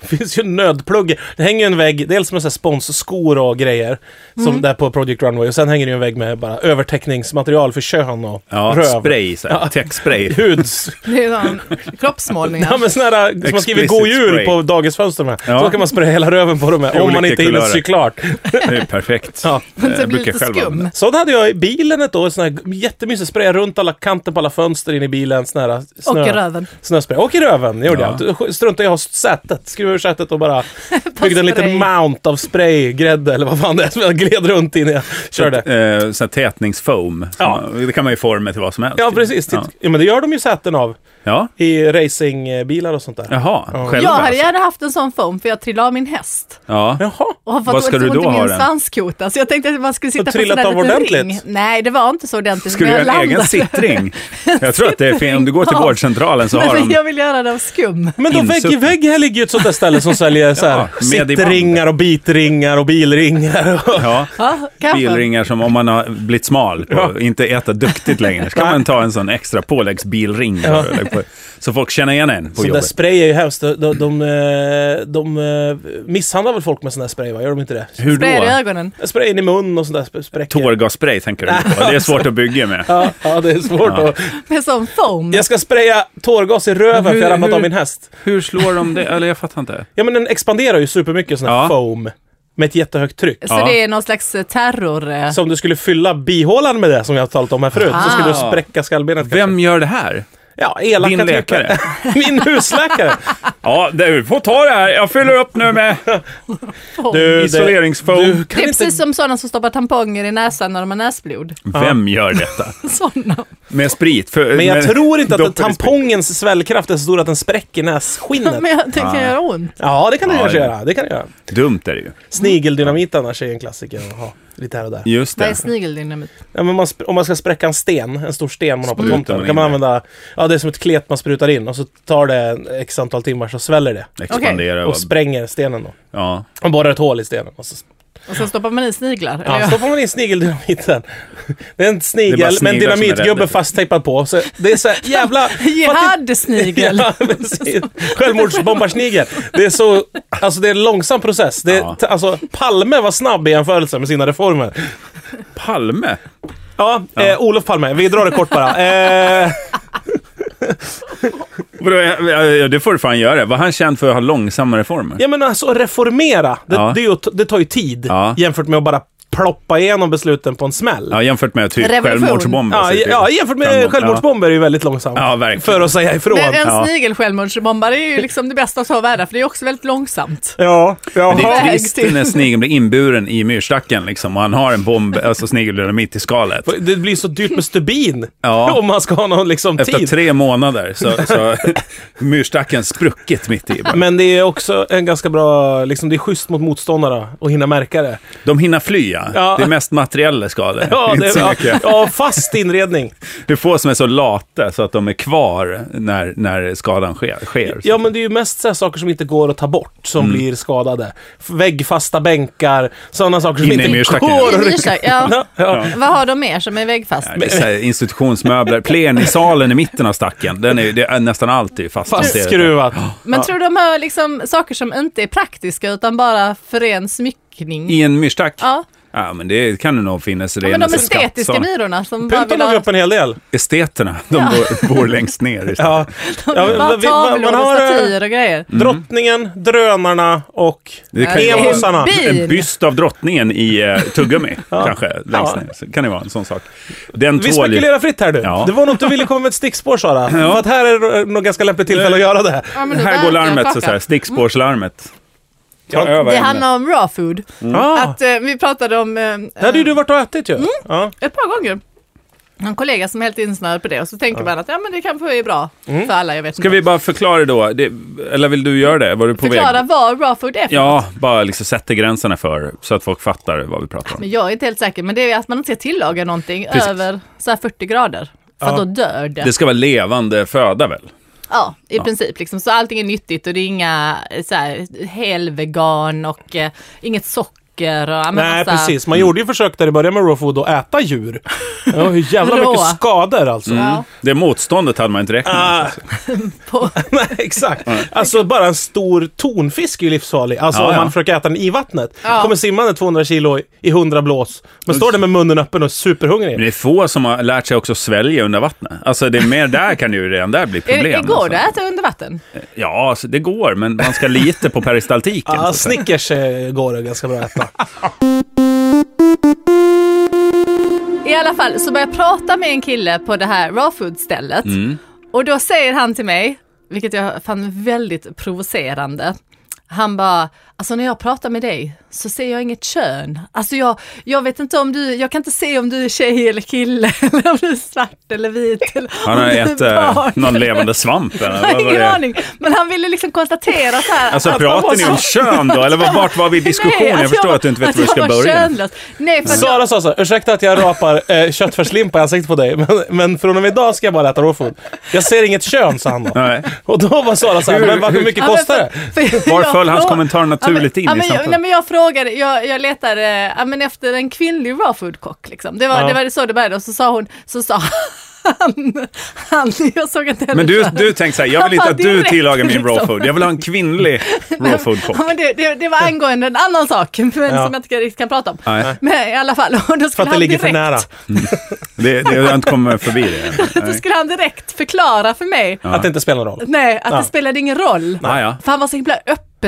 Speaker 1: Det finns ju nödplugg. Det hänger ju en vägg, dels med så här sponsskor och grejer, som där på Project Runway. Och sen hänger det ju en vägg med bara övertäckningsmaterial för kön och
Speaker 2: Ja,
Speaker 1: röv.
Speaker 2: spray, så här, täckspray.
Speaker 1: Huds...
Speaker 3: det är sån kroppsmålning.
Speaker 1: Ja, men sån här, som man skriver
Speaker 2: Explicit
Speaker 1: god jul
Speaker 2: spray.
Speaker 1: på dagisfönstren med.
Speaker 2: Ja.
Speaker 1: Så kan man spraya hela röven på dem med, om man
Speaker 2: Olika
Speaker 1: inte hinner
Speaker 2: kulörer.
Speaker 1: sy klart.
Speaker 2: Det är ju perfekt.
Speaker 1: Ja.
Speaker 3: Men så
Speaker 2: Jag
Speaker 3: blir
Speaker 2: brukar
Speaker 3: lite
Speaker 2: själv använda
Speaker 3: skum.
Speaker 1: Sånt hade jag i bilen ett år, sån här jättemysig spraya runt alla kanten på alla fönster in i bilen. Sån här
Speaker 3: Och
Speaker 1: snö,
Speaker 3: i röven.
Speaker 1: snöspray. Och i röven, gjorde
Speaker 2: Ja.
Speaker 1: jag. Struntade jag i att ha sätet, skrev ur sätet och bara byggde en liten
Speaker 3: spray.
Speaker 1: mount av spray, grädde eller vad fan det är som jag gled runt in i. Jag körde.
Speaker 2: Eh, sån här tätningsfoam.
Speaker 1: Ja.
Speaker 2: Ja. Det kan man ju forma till vad som helst.
Speaker 1: Ja, precis. Titt-
Speaker 2: Ja.
Speaker 1: Ja, men det gör de ju säten av
Speaker 2: ja.
Speaker 1: i racingbilar och sånt där.
Speaker 2: Jaha,
Speaker 1: Ja.
Speaker 2: själva
Speaker 3: Jag hade
Speaker 2: alltså.
Speaker 3: gärna haft en sån foam för jag trillade av min häst.
Speaker 2: Ja.
Speaker 1: Jaha.
Speaker 3: Och har fått
Speaker 2: Vad ska
Speaker 3: ont
Speaker 2: du då
Speaker 3: ont i
Speaker 2: ha
Speaker 3: min
Speaker 2: den?
Speaker 3: svanskota. Så jag tänkte att jag bara skulle sitta på en sån
Speaker 1: trillat
Speaker 3: där
Speaker 1: av
Speaker 3: liten
Speaker 1: ordentligt?
Speaker 3: ring. Nej, det var inte så ordentligt.
Speaker 2: Ska du
Speaker 3: men
Speaker 2: göra
Speaker 3: jag
Speaker 2: en egen
Speaker 3: landade.
Speaker 2: sittring? Jag tror att det är fint. Om du går till
Speaker 3: Ja.
Speaker 2: vårdcentralen så har
Speaker 3: Men
Speaker 2: de...
Speaker 3: jag vill göra det av skum.
Speaker 1: Men då vägg i
Speaker 2: Insutten.
Speaker 1: vägg här ligger ju ett sånt där ställe som säljer så här,
Speaker 2: Ja, med i band.
Speaker 1: sittringar och bitringar och bilringar. Och
Speaker 2: Ja.
Speaker 3: Ja, kanske.
Speaker 2: Bilringar som om man har blivit smal på,
Speaker 1: Ja.
Speaker 2: inte äta duktigt längre. Ska man ta en sån extra påläggsbilring.
Speaker 1: Ja.
Speaker 2: eller på- Så folk känner igen en på
Speaker 1: sån där
Speaker 2: jobbet.
Speaker 1: spray är ju hemskt. De, de, de, eh, de eh, misshandlar väl folk med sån där spray, va? Gör de inte det?
Speaker 2: Hur
Speaker 3: Sprayar i
Speaker 2: då?
Speaker 3: ögonen.
Speaker 1: Spray in i mun och sånt där sp- spräcker.
Speaker 2: Tårgasspray tänker du på. Det är svårt att bygga med.
Speaker 1: Ja, ja, det är svårt
Speaker 2: Ja.
Speaker 1: att...
Speaker 3: Med sån foam.
Speaker 1: Jag ska spraya tårgas i röven
Speaker 2: Mm. Men
Speaker 1: för
Speaker 2: hur-
Speaker 1: jag har ramlat av
Speaker 2: hur-
Speaker 1: min häst.
Speaker 2: Hur slår de det? Eller jag fattar inte.
Speaker 1: Ja, men den expanderar ju supermycket sån här
Speaker 2: Ja.
Speaker 1: foam. Med ett jättehögt tryck.
Speaker 3: Så
Speaker 2: Ja.
Speaker 3: det är någon slags eh, terror... eh,
Speaker 1: Så om du skulle fylla bihålan med det som jag har talat om här förut så skulle du spräcka skallbenet kanske.
Speaker 2: Vem gör det här?
Speaker 1: Ja, elaka
Speaker 2: Ah. Din
Speaker 1: typer.
Speaker 2: läkare?
Speaker 1: Min husläkare.
Speaker 2: Ja, du får ta det här. Jag fyller upp nu med
Speaker 3: foam.
Speaker 1: Du, det,
Speaker 2: isoleringsfoam.
Speaker 1: du
Speaker 3: det
Speaker 1: kan
Speaker 3: är
Speaker 1: inte
Speaker 3: precis som sådana som stoppar tamponger i näsan när de har näsblod.
Speaker 2: Vem gör detta?
Speaker 3: Sådana.
Speaker 2: Med sprit? För,
Speaker 1: Men jag
Speaker 2: med-
Speaker 1: tror inte att
Speaker 2: doppar i sprit.
Speaker 1: tampongens svällkraft är så stor att den spräcker nässkinnet.
Speaker 3: Men jag tänker
Speaker 2: Ah.
Speaker 3: göra ont.
Speaker 1: Ja, det kan den
Speaker 2: Ja,
Speaker 1: kanske
Speaker 2: det-
Speaker 1: göra. Det kan den göra.
Speaker 2: Dumt är det ju.
Speaker 1: Snigeldynamit annars är en klassiker att ha. Lite här och där.
Speaker 2: Just
Speaker 3: Vad är
Speaker 2: det.
Speaker 3: snigeldynamit?
Speaker 1: Ja, men man, sp- om man ska spräcka en sten, en stor sten man har på
Speaker 2: Sprutar
Speaker 1: tomten,
Speaker 2: man
Speaker 1: kan
Speaker 2: in
Speaker 1: man
Speaker 2: det.
Speaker 1: använda... Ja, det är som ett klet man sprutar in och så tar det en- x antal timmar så sväller det.
Speaker 2: Expandera.
Speaker 1: Och spränger stenen då.
Speaker 2: Ja.
Speaker 1: Man borrar ett hål i stenen. Och så
Speaker 3: Och sen stoppar man i sniglar?
Speaker 1: ja,
Speaker 3: eller ja.
Speaker 1: stoppar man in snigeldynamiten. Det är en
Speaker 2: Det är bara
Speaker 1: snigel med en
Speaker 2: sniglar som är
Speaker 1: dynamitgubbe
Speaker 2: rädda.
Speaker 1: fasttejpad på. Så det är så här jävla...
Speaker 3: Jihad-snigel!
Speaker 1: Ja, precis. Självmordsbombarsnigel. Det är så, alltså det är en långsam process. Det är,
Speaker 2: Ja.
Speaker 1: t- alltså, Palme var snabb i jämförelse med sina reformer.
Speaker 2: Palme.
Speaker 1: Ja, Eh, Olof Palme. Vi drar det kort bara. Eh,
Speaker 2: Vadå, ja, ja, Det får du fan göra. Var han känd för att ha långsamma reformer?
Speaker 1: ja men alltså reformera, det,
Speaker 2: Ja.
Speaker 1: det, är ju, att- det tar ju tid
Speaker 2: Ja.
Speaker 1: jämfört med att bara ploppa igenom besluten på en smäll.
Speaker 2: Ja, jämfört med typ
Speaker 3: Revolution.
Speaker 2: självmordsbomber.
Speaker 1: Ja,
Speaker 2: så typ.
Speaker 1: ja, jämfört med
Speaker 2: Självmord.
Speaker 1: självmordsbomber är ju väldigt långsamt.
Speaker 2: Ja, verkligen.
Speaker 1: för att säga ifrån.
Speaker 3: Men en
Speaker 2: Ja.
Speaker 3: snigel självmordsbombare är ju liksom det bästa av två världar för det är också väldigt långsamt.
Speaker 1: Ja, jaha.
Speaker 2: Det är
Speaker 3: Väg
Speaker 2: trist
Speaker 3: till-
Speaker 2: när snigeln blir inburen i myrstacken liksom, och han har en bomb, alltså snigeldynamit i skalet.
Speaker 1: Det blir så dyrt med stubin.
Speaker 2: Ja.
Speaker 1: Om man ska ha någon liksom
Speaker 2: Efter
Speaker 1: tid.
Speaker 2: tre månader så så myrstacken spruckit mitt i. bara.
Speaker 1: Men det är också en ganska bra, liksom det är schysst mot motståndarna att hinna märka det.
Speaker 2: De hinner fly, ja.
Speaker 1: Ja.
Speaker 2: Det är mest materiella skador.
Speaker 1: Ja,
Speaker 2: Inte
Speaker 1: det,
Speaker 2: så
Speaker 1: ja,
Speaker 2: mycket.
Speaker 1: ja fast inredning.
Speaker 2: Du får som är så lata så att de är kvar när, när skadan sker. sker.
Speaker 1: Ja, men det är ju mest så här saker som inte går att ta bort som
Speaker 2: Mm.
Speaker 1: blir skadade. F- Väggfasta bänkar, sådana saker som
Speaker 2: Inne i
Speaker 1: inte
Speaker 2: myrstacken,
Speaker 1: går
Speaker 2: ja.
Speaker 1: att
Speaker 3: I
Speaker 1: rycka.
Speaker 3: Nyrstack, ja.
Speaker 1: Ja, ja.
Speaker 3: Vad har de mer som är väggfast?
Speaker 2: Det är så här institutionsmöbler. Plenisalen i mitten av stacken, den är, det är nästan alltid fast.
Speaker 1: Fastskruvat.
Speaker 3: Men tror du de har liksom saker som inte är praktiska utan bara för ren smyckning?
Speaker 2: I en myrstack?
Speaker 3: Ja.
Speaker 2: Ja, men det kan det nog finnas.
Speaker 3: Ja,
Speaker 2: rena
Speaker 3: men de
Speaker 2: skatt,
Speaker 3: estetiska
Speaker 2: så.
Speaker 3: myrorna som bara
Speaker 1: Punton
Speaker 3: vill
Speaker 1: har
Speaker 3: ha...
Speaker 1: vi upp en hel del.
Speaker 2: Esteterna, de bor, bor längst ner. i stacken.
Speaker 1: Ja. Ja,
Speaker 3: Bara
Speaker 1: men vi- man,
Speaker 3: tavlor
Speaker 1: man
Speaker 3: och
Speaker 1: har eh,
Speaker 2: Mm.
Speaker 3: statyer och grejer.
Speaker 1: drottningen, drönarna och
Speaker 2: Det kan ju vara
Speaker 1: emosarna.
Speaker 3: Bi-
Speaker 2: en,
Speaker 3: Bil.
Speaker 2: en byst av drottningen i eh, tuggummi, kanske, längst
Speaker 1: Ja.
Speaker 2: ner. Så kan det vara en sån sak. Den
Speaker 1: Vi
Speaker 2: tål ju...
Speaker 1: spekulerar fritt här nu.
Speaker 2: Ja.
Speaker 1: Det var nog inte du ville komma med ett stickspår Sara. För att här är det nog ganska lämpligt tillfälle att göra det.
Speaker 3: Ja, men nu
Speaker 2: Här
Speaker 3: börjar
Speaker 2: går
Speaker 3: jag
Speaker 2: larmet, så
Speaker 3: skaka.
Speaker 2: så här, stickspårslarmet. Ta
Speaker 1: Ja,
Speaker 2: över
Speaker 3: Det
Speaker 2: ämnet.
Speaker 3: handlar om raw food.
Speaker 2: Mm.
Speaker 1: Ah.
Speaker 3: Att, eh, vi pratade om eh, Mm.
Speaker 1: Det hade ju du varit och ätit ju. Ja.
Speaker 3: ett par gånger. En kollega som är helt insnöad på det och så tänker man att ja, men det kanske är bra för alla. Jag vet
Speaker 2: Mm. Ska
Speaker 3: inte.
Speaker 2: vi bara förklara då, det, eller vill du göra det? Var du på
Speaker 3: Förklara
Speaker 2: väg?
Speaker 3: vad raw food är för
Speaker 2: Ja, bara liksom sätta gränserna för, så att folk fattar vad vi pratar om.
Speaker 3: Men jag är inte helt säker, men det är att man inte ska tillaga någonting
Speaker 2: Precis.
Speaker 3: över så här 40 grader. För
Speaker 1: Ja.
Speaker 3: att då dör det.
Speaker 2: Det ska vara levande föda väl?
Speaker 3: Ja, i princip liksom. Så allting är nyttigt och det är inga eh, så här, helvegan och eh, inget socker och ja, men alltså-
Speaker 1: Nej,
Speaker 3: massa-
Speaker 1: precis. Man gjorde ju försök där det började med raw food att äta djur. Ja, hur jävla
Speaker 3: Rå. Mm.
Speaker 1: mycket skador alltså.
Speaker 3: Ja,
Speaker 2: Det motståndet hade man inte räknat med.
Speaker 1: Ah,
Speaker 2: så att säga.
Speaker 3: på,
Speaker 1: nej, exakt. Alltså bara en stor tonfisk är ju livsfarlig. Alltså
Speaker 2: Ja,
Speaker 1: om
Speaker 2: ja.
Speaker 1: man försöker äta den i vattnet.
Speaker 3: Ja.
Speaker 1: Kommer simmande 200 kilo i- i 100 blås. Men står där med munnen öppen och är
Speaker 2: Men
Speaker 1: superhungrig.
Speaker 2: det är få som har lärt sig också svälja under vattnet. Alltså det är mer där kan det ju redan där bli
Speaker 3: är,
Speaker 2: problem.
Speaker 3: är- går
Speaker 2: alltså.
Speaker 3: det att äta under vatten?
Speaker 2: Ja, alltså, det går, men man ska lita på peristaltiken. så
Speaker 1: Ja,
Speaker 2: att
Speaker 3: Alltså.
Speaker 2: säga.
Speaker 1: Snickers eh, går det ganska bra att äta.
Speaker 3: I alla fall så började jag prata med en kille på det här raw food stället
Speaker 2: Mm.
Speaker 3: och då säger han till mig, vilket jag fann väldigt provocerande, han bara, alltså när jag pratar med dig så ser jag inget kön. Alltså jag, jag vet inte om du, jag kan inte se om du är tjej eller kille eller om du är svart eller vit. Eller
Speaker 2: Han
Speaker 3: om
Speaker 2: har
Speaker 3: du är
Speaker 2: ätit eh,
Speaker 3: barn."
Speaker 2: någon levande svamp eller
Speaker 3: Jag
Speaker 2: vad
Speaker 3: har
Speaker 2: var
Speaker 3: ingen
Speaker 2: det?
Speaker 3: aning, men han ville liksom konstatera så här.
Speaker 2: Alltså
Speaker 1: Att man var
Speaker 2: pratar ni om kön då? Eller var- vart var vi i diskussionen?
Speaker 3: att
Speaker 2: jag förstår
Speaker 3: var-
Speaker 2: att du inte vet
Speaker 3: alltså,
Speaker 2: var
Speaker 3: att
Speaker 2: du
Speaker 3: jag
Speaker 2: ska
Speaker 3: var
Speaker 2: börja.
Speaker 3: Könlös. Nej, för att jag,
Speaker 1: Sara sa så här, ursäkta att jag rapar eh, köttfärslimpa i ansiktet på dig, men, men från och med idag ska jag bara äta raw food. Jag ser inget kön, sa han då.
Speaker 2: Nej.
Speaker 1: Och då var Sara så här, men vad- hur mycket
Speaker 3: Ja, men
Speaker 1: kostar det?
Speaker 3: för- för
Speaker 2: Var
Speaker 3: jag
Speaker 2: föll hans
Speaker 3: frå-
Speaker 2: kommentar naturligt
Speaker 3: ja,
Speaker 2: in i
Speaker 3: men, ja, men, jag, nej,
Speaker 2: samtalet?
Speaker 3: men jag frågade, jag, jag letade ja, men efter en kvinnlig raw food kock liksom. Det var,
Speaker 1: Ja.
Speaker 3: det var så det började och så sa hon, så sa han, han jag såg inte heller
Speaker 2: Men du,
Speaker 3: könet.
Speaker 2: du tänkte så här, jag vill inte
Speaker 3: Han
Speaker 2: att
Speaker 3: bara
Speaker 2: du
Speaker 3: direkt,
Speaker 2: tillagar min raw
Speaker 3: liksom.
Speaker 2: food. Jag vill ha en kvinnlig raw food kock.
Speaker 3: Ja, men det, det, det var angående en annan sak, men som
Speaker 1: Ja.
Speaker 3: jag inte riktigt kan prata om.
Speaker 2: Nej,
Speaker 3: Men i alla fall, och då skulle
Speaker 1: För att det
Speaker 3: han
Speaker 1: ligger för
Speaker 3: direkt,
Speaker 1: nära.
Speaker 2: det, det, jag har inte kommit förbi det än.
Speaker 3: Då
Speaker 2: Nej.
Speaker 3: skulle han direkt förklara för mig,
Speaker 1: Att det inte spelar någon roll.
Speaker 3: nej, att
Speaker 1: Ja.
Speaker 3: det spelade ingen roll.
Speaker 2: Ja, ja.
Speaker 3: För han var så himla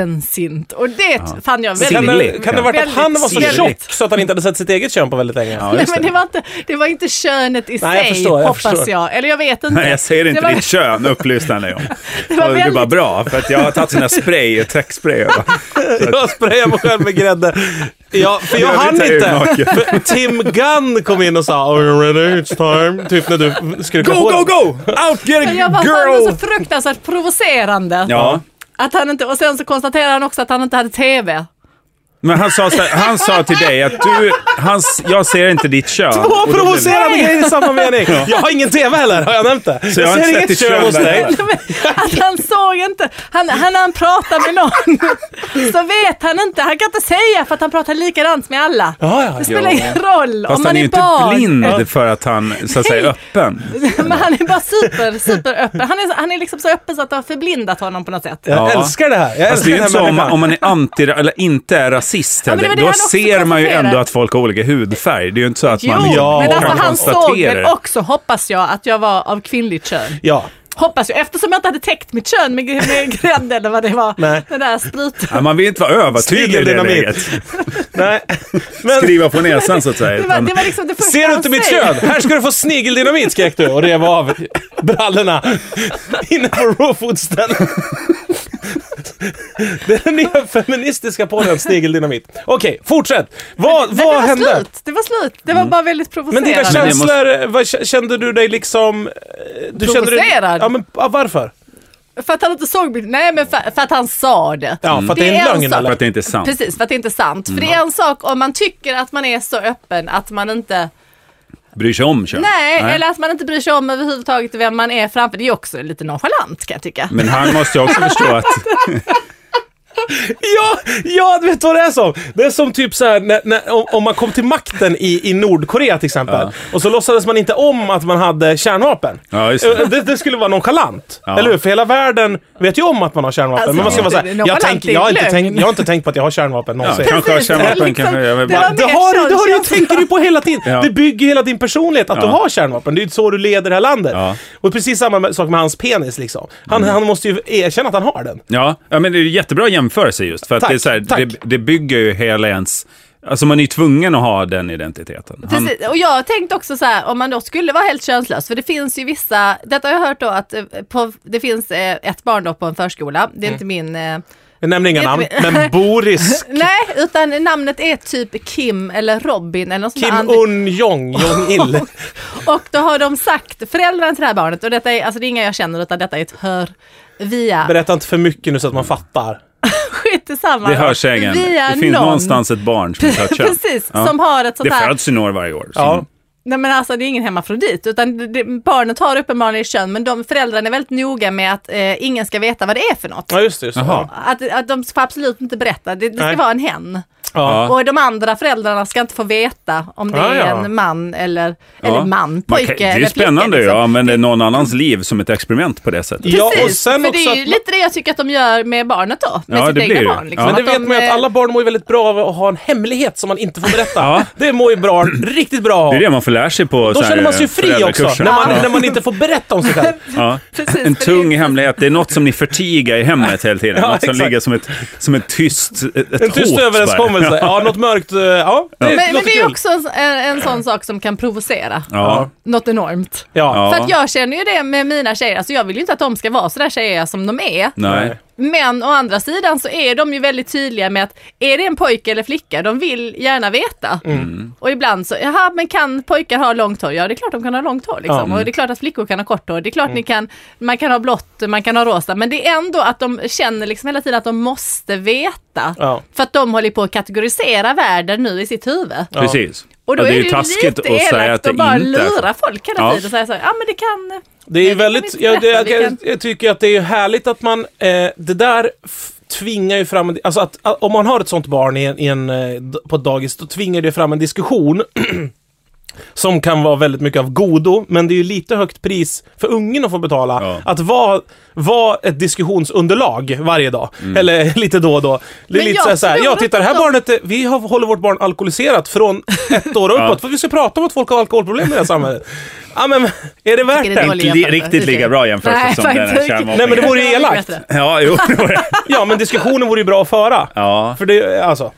Speaker 3: öppensint och det fann jag väldigt
Speaker 1: Kan det,
Speaker 2: Silligt,
Speaker 1: kan det
Speaker 2: ja.
Speaker 1: varit att han var så
Speaker 3: Väldigt
Speaker 1: tjock
Speaker 3: silligt.
Speaker 1: så att han inte hade sett sitt eget kön på väldigt länge?
Speaker 2: Ja,
Speaker 3: Nej,
Speaker 2: just
Speaker 3: men
Speaker 2: det.
Speaker 3: det var, inte, det var inte könet i
Speaker 1: Nej, jag
Speaker 3: sig,
Speaker 1: förstår, jag
Speaker 3: hoppas
Speaker 1: förstår.
Speaker 3: jag. Eller jag vet inte.
Speaker 2: Nej, jag säger inte
Speaker 3: det var,
Speaker 2: ditt kön, upplyste han dig om.
Speaker 3: Det var
Speaker 2: Och Du
Speaker 3: väldigt-
Speaker 2: bara bra, för att jag har tagit sån här spray, träckspray. och bara-
Speaker 1: Jag sprayar mig själv med grädde. Ja, för jag
Speaker 2: I
Speaker 1: hann
Speaker 2: övrigt är jag ju
Speaker 1: inte.
Speaker 2: naken.
Speaker 1: För Tim Gunn kom in och sa Are you ready? It's time. Typ när du skulle
Speaker 2: Go,
Speaker 1: komma på
Speaker 2: go,
Speaker 1: den.
Speaker 2: go! Out, get a
Speaker 3: Men jag bara, fan, det var
Speaker 2: girl!
Speaker 3: så fruktansvärt provocerande.
Speaker 2: Ja,
Speaker 3: Att han inte, och sen så konstaterar han också att han inte hade tv.
Speaker 2: men han sa, så här, han sa till dig att du, han, jag ser inte ditt kön. Och
Speaker 1: Två
Speaker 2: då blev det-
Speaker 1: provocerande grejer i samma mening! Jag har ingen TV heller, har jag nämnt det?
Speaker 2: jag har
Speaker 1: ser
Speaker 2: inte sett
Speaker 1: inget
Speaker 2: ditt
Speaker 1: kön
Speaker 2: kön
Speaker 1: hos
Speaker 2: där
Speaker 1: dig.
Speaker 2: heller.
Speaker 3: Nej, men att han såg inte, han, han, han pratar med någon så vet han inte, han kan inte säga för att han pratar likadant med alla.
Speaker 1: Ja, ja,
Speaker 3: Det spelar
Speaker 2: Jo.
Speaker 3: ingen roll om
Speaker 2: Fast
Speaker 3: man
Speaker 2: han är
Speaker 3: är,
Speaker 2: ju inte
Speaker 3: barn.
Speaker 2: blind för att han så att säga är öppen.
Speaker 3: Men han är bara super, super öppen. Han är, han är liksom så öppen så att det har förblindat honom på något sätt.
Speaker 1: Jag
Speaker 2: Ja.
Speaker 1: älskar det här. Jag
Speaker 2: Fast Alltså,
Speaker 1: älskar
Speaker 2: det är ju
Speaker 1: den
Speaker 2: inte så
Speaker 1: här
Speaker 2: om man,
Speaker 1: människan.
Speaker 2: om man är anti eller inte är rasist
Speaker 3: men det
Speaker 2: heller.
Speaker 3: var det
Speaker 2: Då
Speaker 3: han också
Speaker 2: ser man ju
Speaker 3: konstaterade.
Speaker 2: ändå att folk har olika hudfärg. Det är ju inte så att
Speaker 3: Jo,
Speaker 2: man
Speaker 1: Ja,
Speaker 3: men
Speaker 2: kan
Speaker 3: alltså han såg
Speaker 2: konstatera
Speaker 3: väl
Speaker 2: det.
Speaker 3: också, hoppas jag, att jag var av kvinnligt kön.
Speaker 1: Ja.
Speaker 3: Hoppas jag, eftersom jag inte hade täckt mitt kön med, med grädde eller vad det var.
Speaker 1: Nej.
Speaker 3: Den där sprutan.
Speaker 2: Ja, man vill inte vara övertydlig i det
Speaker 1: Snigeldynamit.
Speaker 2: läget.
Speaker 1: Nej. Men,
Speaker 2: Skriva på näsan så att säga.
Speaker 3: Det var,
Speaker 2: Utan,
Speaker 3: det var liksom det första
Speaker 1: Ser du
Speaker 3: han
Speaker 1: inte mitt
Speaker 3: säger.
Speaker 1: kön? Här ska du få snigeldynamit skrek du och rev av brallorna inne på rawfoodstället. Det är den nya feministiska podden Snigeldynamit. Okej, fortsätt. Vad,
Speaker 3: Nej,
Speaker 1: vad
Speaker 3: det var
Speaker 1: hände? Mm.
Speaker 3: Slut. Det var slut. Det var bara väldigt
Speaker 1: Men
Speaker 3: provocerande.
Speaker 1: dina
Speaker 2: jag
Speaker 1: känslor, vad, k- kände du dig liksom... eh, Du kände dig,
Speaker 3: Provocerad?
Speaker 1: ja, men ja, varför?
Speaker 3: För att han inte såg bilden. Nej, men för, för att han sa det.
Speaker 1: Ja, för att det Mm. är en lögn,
Speaker 3: sak.
Speaker 1: eller?
Speaker 2: För att det inte är sant.
Speaker 3: Precis, för att det inte är sant. För det är en sak om man tycker att man är så öppen att man inte
Speaker 2: Bryr sig om kön.
Speaker 3: Nej, eller att man inte bryr sig om överhuvudtaget vem man är framför. Det är ju också lite nonchalant kan jag tycka.
Speaker 2: Men han måste ju också förstå att...
Speaker 1: Ja, ja, du vet vad det är som? Det är som typ så här, när, när, om, om man kom till makten i, i Nordkorea till exempel. Och så låtsades man inte om att man hade kärnvapen.
Speaker 2: Ja, just det.
Speaker 1: Eh, det, det skulle vara nonchalant.
Speaker 2: Ja.
Speaker 1: Eller hur? För hela världen vet ju om att man har kärnvapen.
Speaker 3: Alltså,
Speaker 1: men man ska vara
Speaker 3: det-
Speaker 1: såhär,
Speaker 3: det-
Speaker 1: jag,
Speaker 3: nonchalant
Speaker 1: tänk,
Speaker 3: är
Speaker 1: jag, har inte
Speaker 3: lögn."
Speaker 1: tänkt, jag har inte tänkt på att jag har kärnvapen
Speaker 2: Ja,
Speaker 1: någonsin.
Speaker 2: kanske har
Speaker 3: Precis, det är
Speaker 2: kärnvapen
Speaker 3: liksom-
Speaker 2: kanske. Jag vill
Speaker 3: det
Speaker 2: bara...
Speaker 3: var-
Speaker 1: Det, har du, det, har du,
Speaker 3: Kärnvapen.
Speaker 1: tänker du på hela tiden.
Speaker 2: Ja.
Speaker 1: Det bygger hela din personlighet att du
Speaker 2: Ja.
Speaker 1: har kärnvapen. Det är ju så du leder det här landet.
Speaker 2: Ja. Mm.
Speaker 1: Och precis samma med- sak med hans penis liksom. Han, han måste ju erkänna att han har den.
Speaker 2: Ja, ja, men det är ju jättebra jämförelse just. För att
Speaker 1: Tack,
Speaker 2: det, är så här,
Speaker 1: tack.
Speaker 2: det, det bygger ju hela ens... Alltså man är ju tvungen att ha den identiteten. Han,
Speaker 3: Precis, och jag tänkte också så här, om man då skulle vara helt könslös, för det finns ju vissa, detta har jag hört då att eh, på, det finns eh, ett barn då på en förskola,
Speaker 1: Mm.
Speaker 3: det är inte min, eh,
Speaker 1: Jag nämner inga namn, men Boris
Speaker 3: nej, utan namnet är typ Kim eller Robin eller något sånt där
Speaker 1: Kim
Speaker 3: andra-
Speaker 1: Un-Jong, Jong-Il.
Speaker 3: Och då har de sagt, föräldrarna till det här barnet, och detta är, alltså det är inga jag känner utan detta är ett hör via,
Speaker 1: Berätta inte för mycket nu så att man fattar.
Speaker 3: skit i samma.
Speaker 2: det hörs egen.
Speaker 3: Via
Speaker 2: Det finns
Speaker 3: någon.
Speaker 2: någonstans ett barn som inte har kön.
Speaker 3: Precis,
Speaker 2: Ja.
Speaker 3: som har ett sånt
Speaker 2: Det
Speaker 3: här
Speaker 2: föds ju några varje år. Så
Speaker 1: Ja.
Speaker 3: Nej men alltså det är ingen hemmafrodit utan det, det, barnet har uppenbarligen kön men de föräldrarna är väldigt noga med att eh, ingen ska veta vad det är för något.
Speaker 1: Ja, just det. Just det.
Speaker 2: Jaha.
Speaker 3: Att, att de får absolut inte berätta, det, det ska
Speaker 1: Nej.
Speaker 3: vara en hen.
Speaker 1: Ja.
Speaker 2: Ja.
Speaker 3: Och de andra föräldrarna ska inte få veta om det
Speaker 1: Ja,
Speaker 3: är
Speaker 1: ja.
Speaker 3: en man eller, eller
Speaker 2: Ja.
Speaker 3: man,
Speaker 2: Man
Speaker 3: pojke
Speaker 2: kan- Det
Speaker 3: eller
Speaker 2: är
Speaker 3: flicka,
Speaker 2: spännande ju
Speaker 3: liksom.
Speaker 2: att använda någon annans liv som ett experiment på det sättet.
Speaker 1: Ja,
Speaker 3: Precis,
Speaker 1: och sen
Speaker 3: för det
Speaker 1: också
Speaker 3: är ju
Speaker 1: att-
Speaker 3: lite det jag tycker att de gör med barnet då, med
Speaker 2: Ja,
Speaker 3: sitt
Speaker 2: det blir
Speaker 3: egna
Speaker 2: det.
Speaker 3: barn. Liksom.
Speaker 2: Ja.
Speaker 1: Men det vet
Speaker 3: de,
Speaker 1: man ju att
Speaker 3: eh,
Speaker 1: alla barn mår ju väldigt bra av att ha en hemlighet som man inte får berätta. Det mår ju barn riktigt bra av.
Speaker 2: Det är det man får lära sig på
Speaker 1: Då känner man sig ju fri också, när man,
Speaker 2: Ja.
Speaker 1: när man inte får berätta om sig själv.
Speaker 2: Ja.
Speaker 3: Precis,
Speaker 2: en
Speaker 3: för det är-
Speaker 2: tung hemlighet. Det är något som ni förtiger i hemmet hela tiden.
Speaker 1: Ja,
Speaker 2: något som
Speaker 1: exakt.
Speaker 2: ligger som ett, som ett tyst ett
Speaker 1: En tyst
Speaker 2: hot bara.
Speaker 1: överenskommelse.
Speaker 2: Ja.
Speaker 1: Ja, något mörkt. eh, Ja, det
Speaker 3: Men,
Speaker 1: låter
Speaker 3: men det är
Speaker 1: kul.
Speaker 3: också en, en sån sak som kan provocera.
Speaker 2: Ja.
Speaker 3: Något enormt.
Speaker 1: Ja.
Speaker 2: Ja.
Speaker 3: För att jag känner ju det med mina tjejer, alltså jag vill ju inte att de ska vara sådär tjejiga som de är.
Speaker 2: Nej.
Speaker 3: Men å andra sidan så är de ju väldigt tydliga med att är det en pojke eller flicka, de vill gärna veta.
Speaker 2: Mm.
Speaker 3: Och ibland så, jaha men kan pojkar ha långt hår? Ja det är klart de kan ha långt hår liksom.
Speaker 1: Ja.
Speaker 3: Och det är klart att flickor kan ha kort hår. Det är klart
Speaker 2: Mm.
Speaker 3: ni kan, man kan ha blått, man kan ha rosa. Men det är ändå att de känner liksom hela tiden att de måste veta.
Speaker 1: Ja.
Speaker 3: För att de håller på att kategorisera världen nu i sitt huvud.
Speaker 2: Precis.
Speaker 3: Och då
Speaker 2: Ja,
Speaker 3: är, det ju taskigt lite
Speaker 2: att säga att
Speaker 3: elakt
Speaker 2: det
Speaker 3: att bara
Speaker 2: inte...
Speaker 3: lura folk hela
Speaker 2: Ja.
Speaker 3: tiden och säga så här, ja men det kan...
Speaker 1: Det är ju
Speaker 3: Nej, det kan vi
Speaker 1: väldigt,
Speaker 3: inte
Speaker 1: jag, det, jag,
Speaker 3: berätta, vi
Speaker 1: jag, jag tycker att det är härligt att man, eh, det där f- tvingar ju fram, en di- alltså att, a- om man har ett sånt barn i en, i en, eh, d- på ett dagis, då tvingar det fram en diskussion som kan vara väldigt mycket av godo, men det är ju lite högt pris för ungen att få betala.
Speaker 2: Ja.
Speaker 1: Att vara vara ett diskussionsunderlag varje dag, eller lite då och då. Det är
Speaker 3: Men
Speaker 1: lite
Speaker 3: jag
Speaker 1: så här, så här,
Speaker 3: tror
Speaker 1: ja
Speaker 3: att
Speaker 1: titta det här
Speaker 3: de-
Speaker 1: barnet, är- vi har, håller vårt barn alkoholiserat från ett år och uppåt, för vi ska prata om att folk har alkoholproblem i det här samhållet. Ja men, är det värt
Speaker 3: det är
Speaker 1: det?
Speaker 3: dåligt.
Speaker 2: Inte li- riktigt lika bra
Speaker 3: Nej,
Speaker 2: jämfört som den här
Speaker 3: faktiskt.
Speaker 2: kärnvapen.
Speaker 1: Nej men det vore ju
Speaker 3: Det var
Speaker 1: elakt.
Speaker 3: bättre.
Speaker 2: Ja, jo. det vore-
Speaker 1: Ja men diskussionen vore ju bra att föra.
Speaker 2: Ja,
Speaker 1: För det, alltså.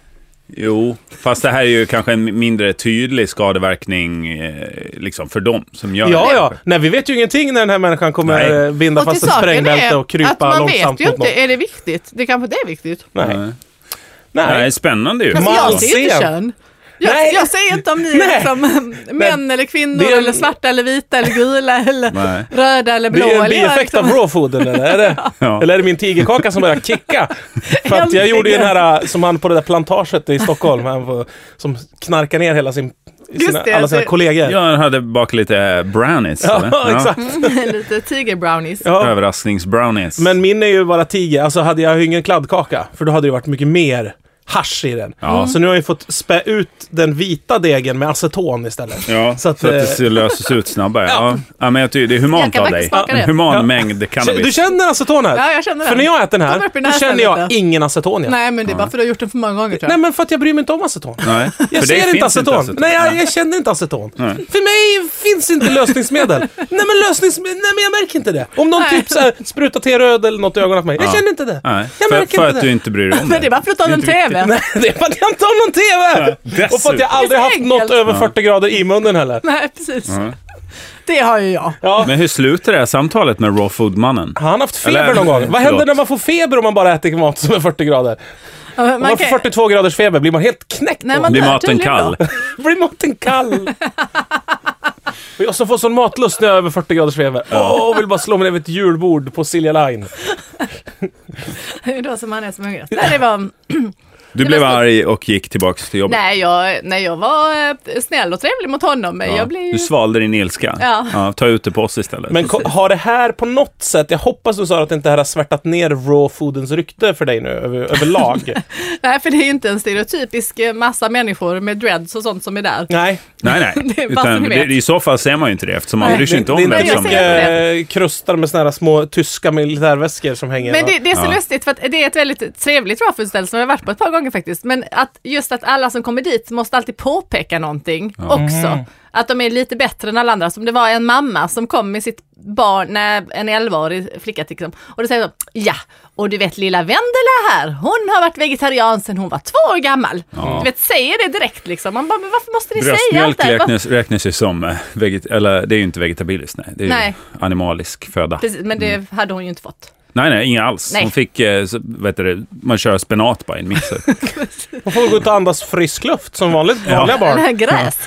Speaker 2: jo. Fast det här är ju kanske en mindre tydlig skadeverkning eh, liksom för dem som gör
Speaker 1: Ja
Speaker 2: det.
Speaker 1: ja, nej vi vet ju ingenting när den här människan kommer
Speaker 2: Nej.
Speaker 1: eh, binda
Speaker 3: Och till
Speaker 1: fast ett
Speaker 3: saken
Speaker 1: sprängbälte och
Speaker 3: är att
Speaker 1: krypa
Speaker 3: man
Speaker 1: långsamt
Speaker 3: vet ju
Speaker 1: mot någon.
Speaker 3: inte, är det viktigt? Det kanske inte är viktigt.
Speaker 1: Nej.
Speaker 2: Nej.
Speaker 1: Nej.
Speaker 2: Nej, spännande ju.
Speaker 3: Alltså,
Speaker 1: Man
Speaker 3: jag säger inte
Speaker 1: ser.
Speaker 3: kön. Jag,
Speaker 1: Nej.
Speaker 3: jag säger inte om ni är
Speaker 1: Nej.
Speaker 3: liksom, män eller kvinnor
Speaker 1: det är en-
Speaker 3: eller svarta eller vita eller gula eller
Speaker 2: Nej.
Speaker 3: röda eller
Speaker 1: Det
Speaker 3: blå.
Speaker 1: är ju en
Speaker 3: eller jag är
Speaker 1: bieffekt av
Speaker 3: liksom-
Speaker 1: raw food eller? Är det,
Speaker 2: Ja.
Speaker 1: eller är det min tigerkaka som börjar kicka? För att jag gjorde ju den här eh, som han på det där plantaget i Stockholm, han får, som knarkar ner hela sin, sina,
Speaker 3: det,
Speaker 1: alla sina
Speaker 3: det-
Speaker 1: kollegor. Ja,
Speaker 2: Jag hade bakat lite eh, brownies. eller?
Speaker 1: exakt.
Speaker 3: liksom Lite tigerbrownies.
Speaker 1: Ja.
Speaker 2: Överraskningsbrownies.
Speaker 1: Men min är ju bara tiger. Alltså hade jag ju ingen kladdkaka, för då hade det varit mycket mer hasch i den.
Speaker 2: Ja.
Speaker 1: Så nu har jag ju fått spä ut den vita degen med aceton istället.
Speaker 2: Ja,
Speaker 1: Så
Speaker 2: så
Speaker 1: att,
Speaker 2: att,
Speaker 1: eh,
Speaker 2: det ser- löses ut snabbare.
Speaker 1: Ja.
Speaker 2: ja. Ja, men jag tycker det är humant
Speaker 3: Jag kan
Speaker 2: av dig.
Speaker 3: faktiskt smaka det.
Speaker 2: En human
Speaker 1: Ja.
Speaker 2: mängd cannabis.
Speaker 1: Du känner acetonet?
Speaker 3: Ja, jag känner
Speaker 1: För när
Speaker 3: den.
Speaker 1: jag äter den
Speaker 3: Kommer
Speaker 1: här,
Speaker 3: upp i
Speaker 1: då
Speaker 3: näsan
Speaker 1: känner jag
Speaker 3: lite.
Speaker 1: ingen aceton. Nej.
Speaker 3: Nej men det är bara för att du har gjort det för många gånger tror
Speaker 1: Nej,
Speaker 3: jag.
Speaker 1: men för att jag bryr mig inte om aceton.
Speaker 2: Nej, för
Speaker 1: Jag
Speaker 2: dig
Speaker 1: ser
Speaker 2: finns
Speaker 1: inte aceton. Nej, jag, jag känner inte aceton. För mig finns inte lösningsmedel. nej, men lösningsmedel, nej, men jag märker inte det. Om någon
Speaker 3: Nej.
Speaker 1: typ så här, sprutar T-röd eller något i ögonen på mig. Jag
Speaker 2: Ja.
Speaker 1: känner inte det.
Speaker 2: Nej,
Speaker 1: Jag
Speaker 2: för,
Speaker 1: märker
Speaker 2: för
Speaker 1: inte
Speaker 2: att
Speaker 1: det.
Speaker 2: du inte bryr dig om
Speaker 3: Men det är bara för att du har
Speaker 2: Det är
Speaker 3: en
Speaker 2: inte
Speaker 3: TV.
Speaker 1: Nej, det är för att jag inte har någon TV!
Speaker 2: dessutom.
Speaker 1: Och för att jag aldrig
Speaker 3: Det är
Speaker 1: haft
Speaker 3: så
Speaker 1: något
Speaker 3: enkelt.
Speaker 1: över 40 grader i munnen heller.
Speaker 3: Nej precis. Det har ju jag.
Speaker 1: Ja.
Speaker 2: Men hur slutar det här samtalet med raw food-mannen?
Speaker 1: Har han haft feber
Speaker 2: Eller-
Speaker 1: någon gång? Vad händer
Speaker 2: Förlåt.
Speaker 1: när man får feber om man bara äter mat som är 40 grader?
Speaker 3: Ja, men
Speaker 1: Om man
Speaker 3: Man
Speaker 1: får
Speaker 3: kan...
Speaker 1: 42 graders feber, blir man helt knäckt
Speaker 3: Nej,
Speaker 1: då?
Speaker 3: man-
Speaker 2: Blir
Speaker 3: Ja,
Speaker 2: maten
Speaker 3: tydligen
Speaker 2: kall?
Speaker 1: Blir maten kall? Och jag som får sån matlust när jag är över 40 graders feber. Åh, vill bara slå mig ner vid ett julbord på Silja Line.
Speaker 3: Det är då som man är som hungrig. Nej, det var...
Speaker 2: Du blev arg och gick tillbaka till jobbet?
Speaker 3: Nej, jag, nej, jag var eh, snäll och trevlig mot honom. Men
Speaker 2: Ja.
Speaker 3: jag blev ju...
Speaker 2: Du svalde din ilska?
Speaker 3: Ja.
Speaker 2: Ta ut det på oss istället.
Speaker 1: Men ko- har det här på något sätt, jag hoppas du sa att det inte här har svärtat ner raw foodens rykte för dig nu över, överlag.
Speaker 3: Nej, för det är ju inte en stereotypisk eh, massa människor med dreads och sånt som är där.
Speaker 1: Nej.
Speaker 2: nej, nej.
Speaker 3: Det är bara som
Speaker 2: Utan,
Speaker 3: ni vet.
Speaker 2: det, I så fall ser man ju inte det eftersom man
Speaker 3: Nej.
Speaker 2: bryr sig inte om
Speaker 1: det
Speaker 2: det.
Speaker 1: är inte
Speaker 3: Nej, jag
Speaker 2: eftersom
Speaker 3: ser inte
Speaker 2: det.
Speaker 1: mycket eh, krustar med såna här små tyska militärväskor som hänger.
Speaker 3: Men
Speaker 1: va?
Speaker 3: det, det är så
Speaker 2: Ja.
Speaker 3: lustigt för att det är ett väldigt trevligt raffutställ som jag har varit på ett par gånger faktiskt. Men att just att alla som kommer dit måste alltid påpeka någonting också. Att de är lite bättre än alla andra. Som det var en mamma som kom med sitt barn, nej, en 11-årig flicka till exempel. Och då säger de, ja, och du vet lilla Vendela här, hon har varit vegetarian sedan hon var två år gammal. Du vet, säger det direkt liksom. Man bara, men varför måste ni säga allt
Speaker 2: Bröstmjölk
Speaker 3: det här?
Speaker 2: räknas, räknas ju som eh, veget, eller det är ju inte vegetabiliskt, nej. Det är
Speaker 3: Nej.
Speaker 2: ju animalisk föda.
Speaker 3: Precis, men det hade hon ju inte fått.
Speaker 2: Nej, nej, inga alls.
Speaker 3: Nej.
Speaker 2: Hon fick, eh, så- vet du, det, man kör spenat bara i en mixer.
Speaker 1: Man får gå ut och andas frisk luft som vanligt, vanliga barn.
Speaker 3: Nej, Gräs.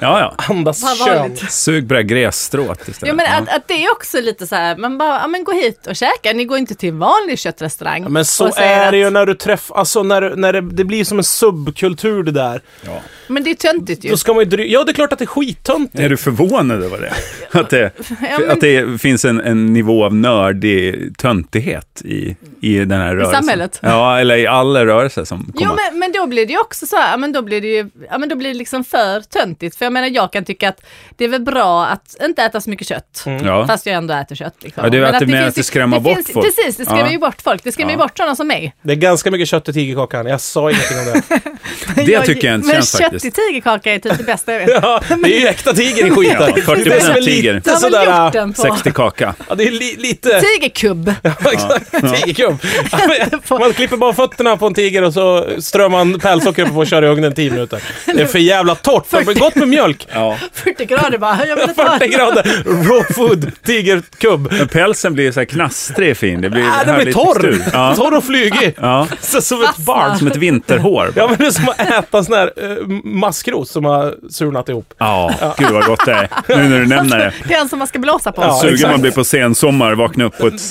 Speaker 2: Ja, ja.
Speaker 1: Andas
Speaker 3: Vad
Speaker 1: kön.
Speaker 3: vanligt.
Speaker 2: Sug på det här grässtrået istället.
Speaker 3: Ja, men att, att det är också lite så här, man bara, ja men gå hit och käka, ni går inte till en vanlig köttrestaurang.
Speaker 1: Men så
Speaker 3: och säger
Speaker 1: är det
Speaker 3: att-
Speaker 1: ju när du träffar, alltså när, du- när det, det blir som en subkultur det där.
Speaker 2: Ja.
Speaker 3: Men det är töntigt ju.
Speaker 1: Då ska man ju dry- Ja, det är klart att det är skittönt.
Speaker 2: Är du förvånad över det? Att det,
Speaker 3: men-
Speaker 2: att det finns en, en nivå av nördig töntighet i, i den här rörelsen?
Speaker 3: samhället?
Speaker 2: Ja, eller i alla rörelser som kommer.
Speaker 3: Jo men, men då blir det ju också så här, ja, men då blir det ju, ja men då blir det liksom för töntigt. För jag menar jag kan tycka att det är väl bra att inte äta så mycket kött.
Speaker 2: Ja.
Speaker 3: Fast jag ändå äter kött. Liksom.
Speaker 2: Mm. Ja, det är att det menar
Speaker 3: finns
Speaker 2: att
Speaker 3: ju-
Speaker 2: det skrämmer bort
Speaker 3: finns,
Speaker 2: folk.
Speaker 3: Precis, det skrämmer
Speaker 2: Ja.
Speaker 3: ju bort folk. Det skrämmer ju
Speaker 2: Ja.
Speaker 3: bort sådana som mig.
Speaker 1: Det är ganska mycket kött i tigerkakan. Jag sa ingenting om det.
Speaker 2: det tycker jag inte
Speaker 3: Men
Speaker 2: känns
Speaker 3: kött i
Speaker 2: faktiskt.
Speaker 3: tigerkaka är typ det bästa jag vet.
Speaker 1: Ja, det är ju äkta tiger i skiten.
Speaker 2: Ja, 40%
Speaker 1: det är som är
Speaker 2: tiger.
Speaker 1: lite
Speaker 3: Det har väl
Speaker 1: sådär...
Speaker 3: gjort Typ. den på
Speaker 2: 60 kaka.
Speaker 1: Ja, det är li- lite...
Speaker 3: tigerkubb.
Speaker 1: Exakt, tigerkubb. Man klipper bara fötterna på en tiger och så strör man pälsocker på och kör i ugnen 10 minuter. Det är för jävla torrt, men gott med mjölk.
Speaker 2: Ja.
Speaker 3: 40 grader bara. Jag vill inte ha
Speaker 1: 40 grader raw food, tigerkubb.
Speaker 2: Men pälsen blir så här knastrig fin. Det blir,
Speaker 1: Ah, den blir
Speaker 2: härligt
Speaker 1: torr!
Speaker 2: textur. Ja.
Speaker 1: Torr och flygig.
Speaker 2: Ja.
Speaker 1: Så, som ett barn.
Speaker 2: Som ett vinterhår.
Speaker 1: Ja
Speaker 2: Ja.
Speaker 1: men det är som att äta sån här eh, maskros som har surnat ihop.
Speaker 2: gud vad gott det är. Nu när du nämner det.
Speaker 3: Det är en som man ska blåsa på.
Speaker 1: Ja,
Speaker 2: Sugen
Speaker 1: exakt.
Speaker 2: man blir på sensommar, vakna upp på, ett,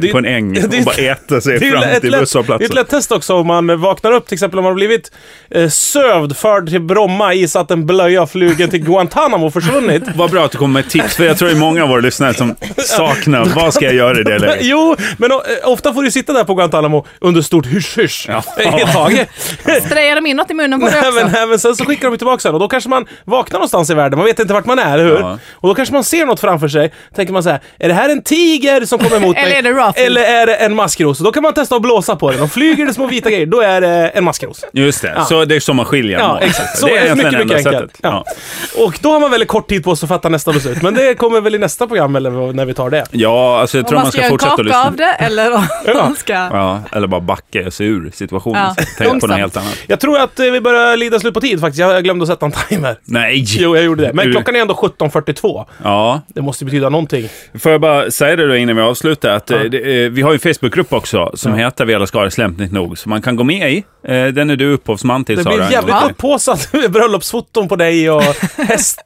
Speaker 1: Det-
Speaker 2: på en äng
Speaker 1: det-
Speaker 2: och bara äta sig
Speaker 1: Det är, ju
Speaker 2: fram
Speaker 1: ett
Speaker 2: till
Speaker 1: lätt, det är ett
Speaker 2: busshållplatsen.
Speaker 1: lätt test också om man vaknar upp till exempel om man har blivit eh, sövd, förd till Bromma, isatt en blöja, flugen till Guantanamo och försvunnit.
Speaker 2: Vad bra att du kommer med tips, för jag tror det är många av våra lyssnare som saknar, vad ska jag göra i det läget?
Speaker 1: Jo, men o- eh, ofta får du sitta där på Guantanamo under stort hysch-hysch
Speaker 2: Ja.
Speaker 1: eh, ett tag.
Speaker 3: Drejar de in något i munnen på det
Speaker 1: Nej, men,
Speaker 3: också?
Speaker 1: nej, men sen så skickar de ju tillbaka den och då kanske man vaknar någonstans i världen, man vet inte vart man är, eller hur?
Speaker 2: Ja.
Speaker 1: Och då kanske man ser något framför sig, tänker man så här, är det här en tiger som kommer emot
Speaker 3: Eller
Speaker 1: mig?
Speaker 3: är det raw food?
Speaker 1: Eller är det en maskros? Och Då kan man testa att blåsa på den, och flyger det små vita grejer, då är det en maskros.
Speaker 2: Just det, så det är så man skiljer
Speaker 1: Ja,
Speaker 2: dem åt.
Speaker 1: exakt. Så
Speaker 2: det
Speaker 1: är det
Speaker 2: är egentligen
Speaker 1: mycket,
Speaker 2: enda
Speaker 1: mycket
Speaker 2: sättet.
Speaker 1: enkelt. Ja. Och då har man väldigt kort tid på sig att fatta nästa beslut, men det kommer väl i nästa program eller vad- när vi tar det.
Speaker 2: Ja, alltså jag
Speaker 3: Om
Speaker 2: tror
Speaker 3: man
Speaker 2: man
Speaker 3: ska
Speaker 2: ska
Speaker 3: göra en
Speaker 2: fortsätta att
Speaker 3: kaka
Speaker 2: lyssna.
Speaker 3: av det eller om man ska...
Speaker 2: Ja, eller bara backa sig ur situationen.
Speaker 3: Ja,
Speaker 2: Tänk på något
Speaker 3: långsamt.
Speaker 2: helt annat.
Speaker 1: Jag tror att eh, vi börjar lida slut på tid faktiskt, jag glömde att sätta en timer.
Speaker 2: Nej!
Speaker 1: Jo, jag gjorde det. Men
Speaker 2: Du-
Speaker 1: klockan är ändå 17.42.
Speaker 2: Ja,
Speaker 1: Det måste betyda någonting.
Speaker 2: Får jag bara säga det då innan vi avslutar, att eh, det, eh, vi har ju en Facebookgrupp också som heter Vi alla skador slämpligt nog, som man kan gå med i. Eh, den är du upphovsman till
Speaker 1: Det
Speaker 2: Sara.
Speaker 1: blir
Speaker 2: en gång
Speaker 1: jävligt
Speaker 2: till.
Speaker 1: upphaussat med bröllopsfoton på dig och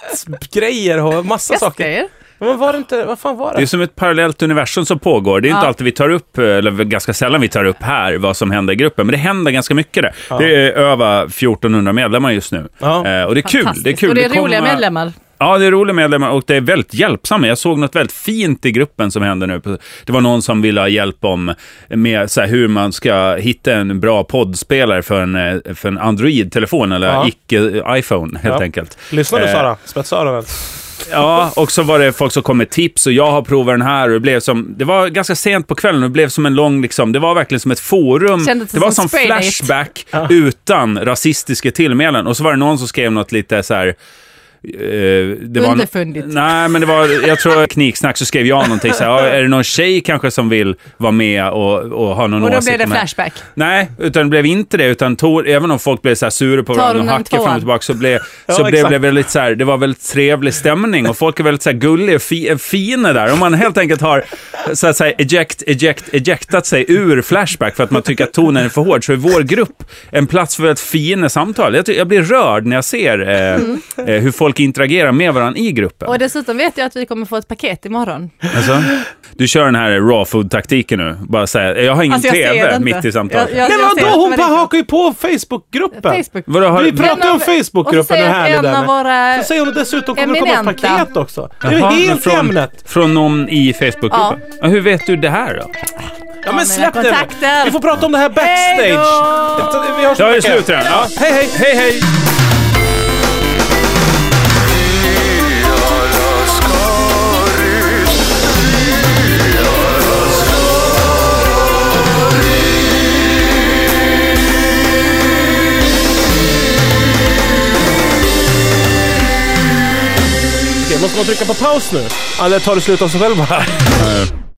Speaker 1: hästgrejer och massa saker.
Speaker 3: Hästgrejer.
Speaker 1: Men var det inte, vad fan var
Speaker 2: Det är
Speaker 1: det?
Speaker 2: som ett parallellt universum som pågår. Det är inte
Speaker 3: Ja.
Speaker 2: alltid vi tar upp, eller ganska sällan vi tar upp här, vad som händer i gruppen. Men det händer ganska mycket där. Det är över 1400 medlemmar just nu.
Speaker 1: Ja.
Speaker 2: Eh, Och det är kul. Det är
Speaker 3: Fantastiskt.
Speaker 2: kul.
Speaker 3: Och det är
Speaker 2: kommer-
Speaker 3: roliga medlemmar.
Speaker 2: Ja, det är roliga medlemmar och det är väldigt hjälpsamma. Jag såg något väldigt fint i gruppen som händer nu. Det var någon som ville ha hjälp om med så här, hur man ska hitta en bra poddspelare för en, eh, för en Android-telefon eller
Speaker 1: Ja.
Speaker 2: icke-iPhone helt
Speaker 1: Ja.
Speaker 2: enkelt.
Speaker 1: Lyssnar du
Speaker 2: Eh,
Speaker 1: Sara? Spetsöronen.
Speaker 2: Ja, och så var det folk som kom med tips och jag har provat den här och det blev som, det var ganska sent på kvällen och det blev som en lång, liksom, det var verkligen som ett forum.
Speaker 3: Kändes
Speaker 2: det var
Speaker 3: som
Speaker 2: som
Speaker 3: Spraydate.
Speaker 2: Flashback utan rasistiska tillmälen. Och så var det någon som skrev något lite så här... eh, det var en-
Speaker 3: Underfundigt.
Speaker 2: nej, men det var, jag tror knicksnack så skrev jag någonting så här, "Ja, är det någon tjej kanske som vill vara med och, och ha någon
Speaker 3: Och då
Speaker 2: åsikt
Speaker 3: blev det
Speaker 2: om här?"
Speaker 3: flashback.
Speaker 2: Nej, utan det blev inte det. Utan Tor, även om folk blev så här sura på
Speaker 3: Tar
Speaker 2: varandra och
Speaker 3: hon den
Speaker 2: hackade fram
Speaker 3: tvåan?
Speaker 2: och tillbaka så blev,
Speaker 1: Ja,
Speaker 2: så blev
Speaker 1: exakt.
Speaker 2: det väldigt så här, det var väldigt trevlig stämning och folk är väldigt så här gulliga och fi, eh, fina där. Om man helt enkelt har så att säga eject, eject, ejectat sig ur Flashback för att man tycker att tonen är för hård så är vår grupp en plats för väldigt fina samtal. Jag, ty- jag blir rörd när jag ser eh,
Speaker 3: Mm.
Speaker 2: eh, hur folk interagerar med varandra i gruppen.
Speaker 3: Och dessutom vet jag att vi kommer få ett paket imorgon.
Speaker 2: Alltså, du kör den här raw food-taktiken nu. Bara säga, jag har ingen
Speaker 3: Alltså, jag ser det
Speaker 2: TV
Speaker 3: inte.
Speaker 2: mitt i samtalet.
Speaker 3: Jag- jag-
Speaker 1: Nej men
Speaker 3: ser
Speaker 1: vadå?
Speaker 3: att
Speaker 1: Hon
Speaker 3: det
Speaker 1: bara
Speaker 3: var det.
Speaker 1: hakar ju på Facebookgruppen.
Speaker 3: Facebook.
Speaker 2: Vadå, har,
Speaker 1: Vi pratar ju om
Speaker 3: En av- och så
Speaker 1: Facebookgruppen
Speaker 3: säger
Speaker 1: och
Speaker 3: jag att
Speaker 1: härlig
Speaker 3: en av
Speaker 1: den är.
Speaker 3: våra-
Speaker 1: Så säger hon dessutom kommer det komma ett
Speaker 3: Eminenta.
Speaker 1: paket också. Det är ju
Speaker 2: Jaha, men
Speaker 1: helt i
Speaker 2: från,
Speaker 1: ämnet.
Speaker 2: Från någon i Facebookgruppen? Ja. hur vet du det här då?
Speaker 1: Ja men släpp det.
Speaker 3: kontakter.
Speaker 1: Vi får prata om det här
Speaker 3: Hej
Speaker 1: backstage.
Speaker 3: då!
Speaker 1: Vi hörs
Speaker 2: Jag är
Speaker 1: nästa vecka.
Speaker 2: slut redan. Ja.
Speaker 1: Hej hej.
Speaker 2: Hej, hej!
Speaker 1: Okej, måste man trycka på paus nu? Eller tar det slut av sig själv bara?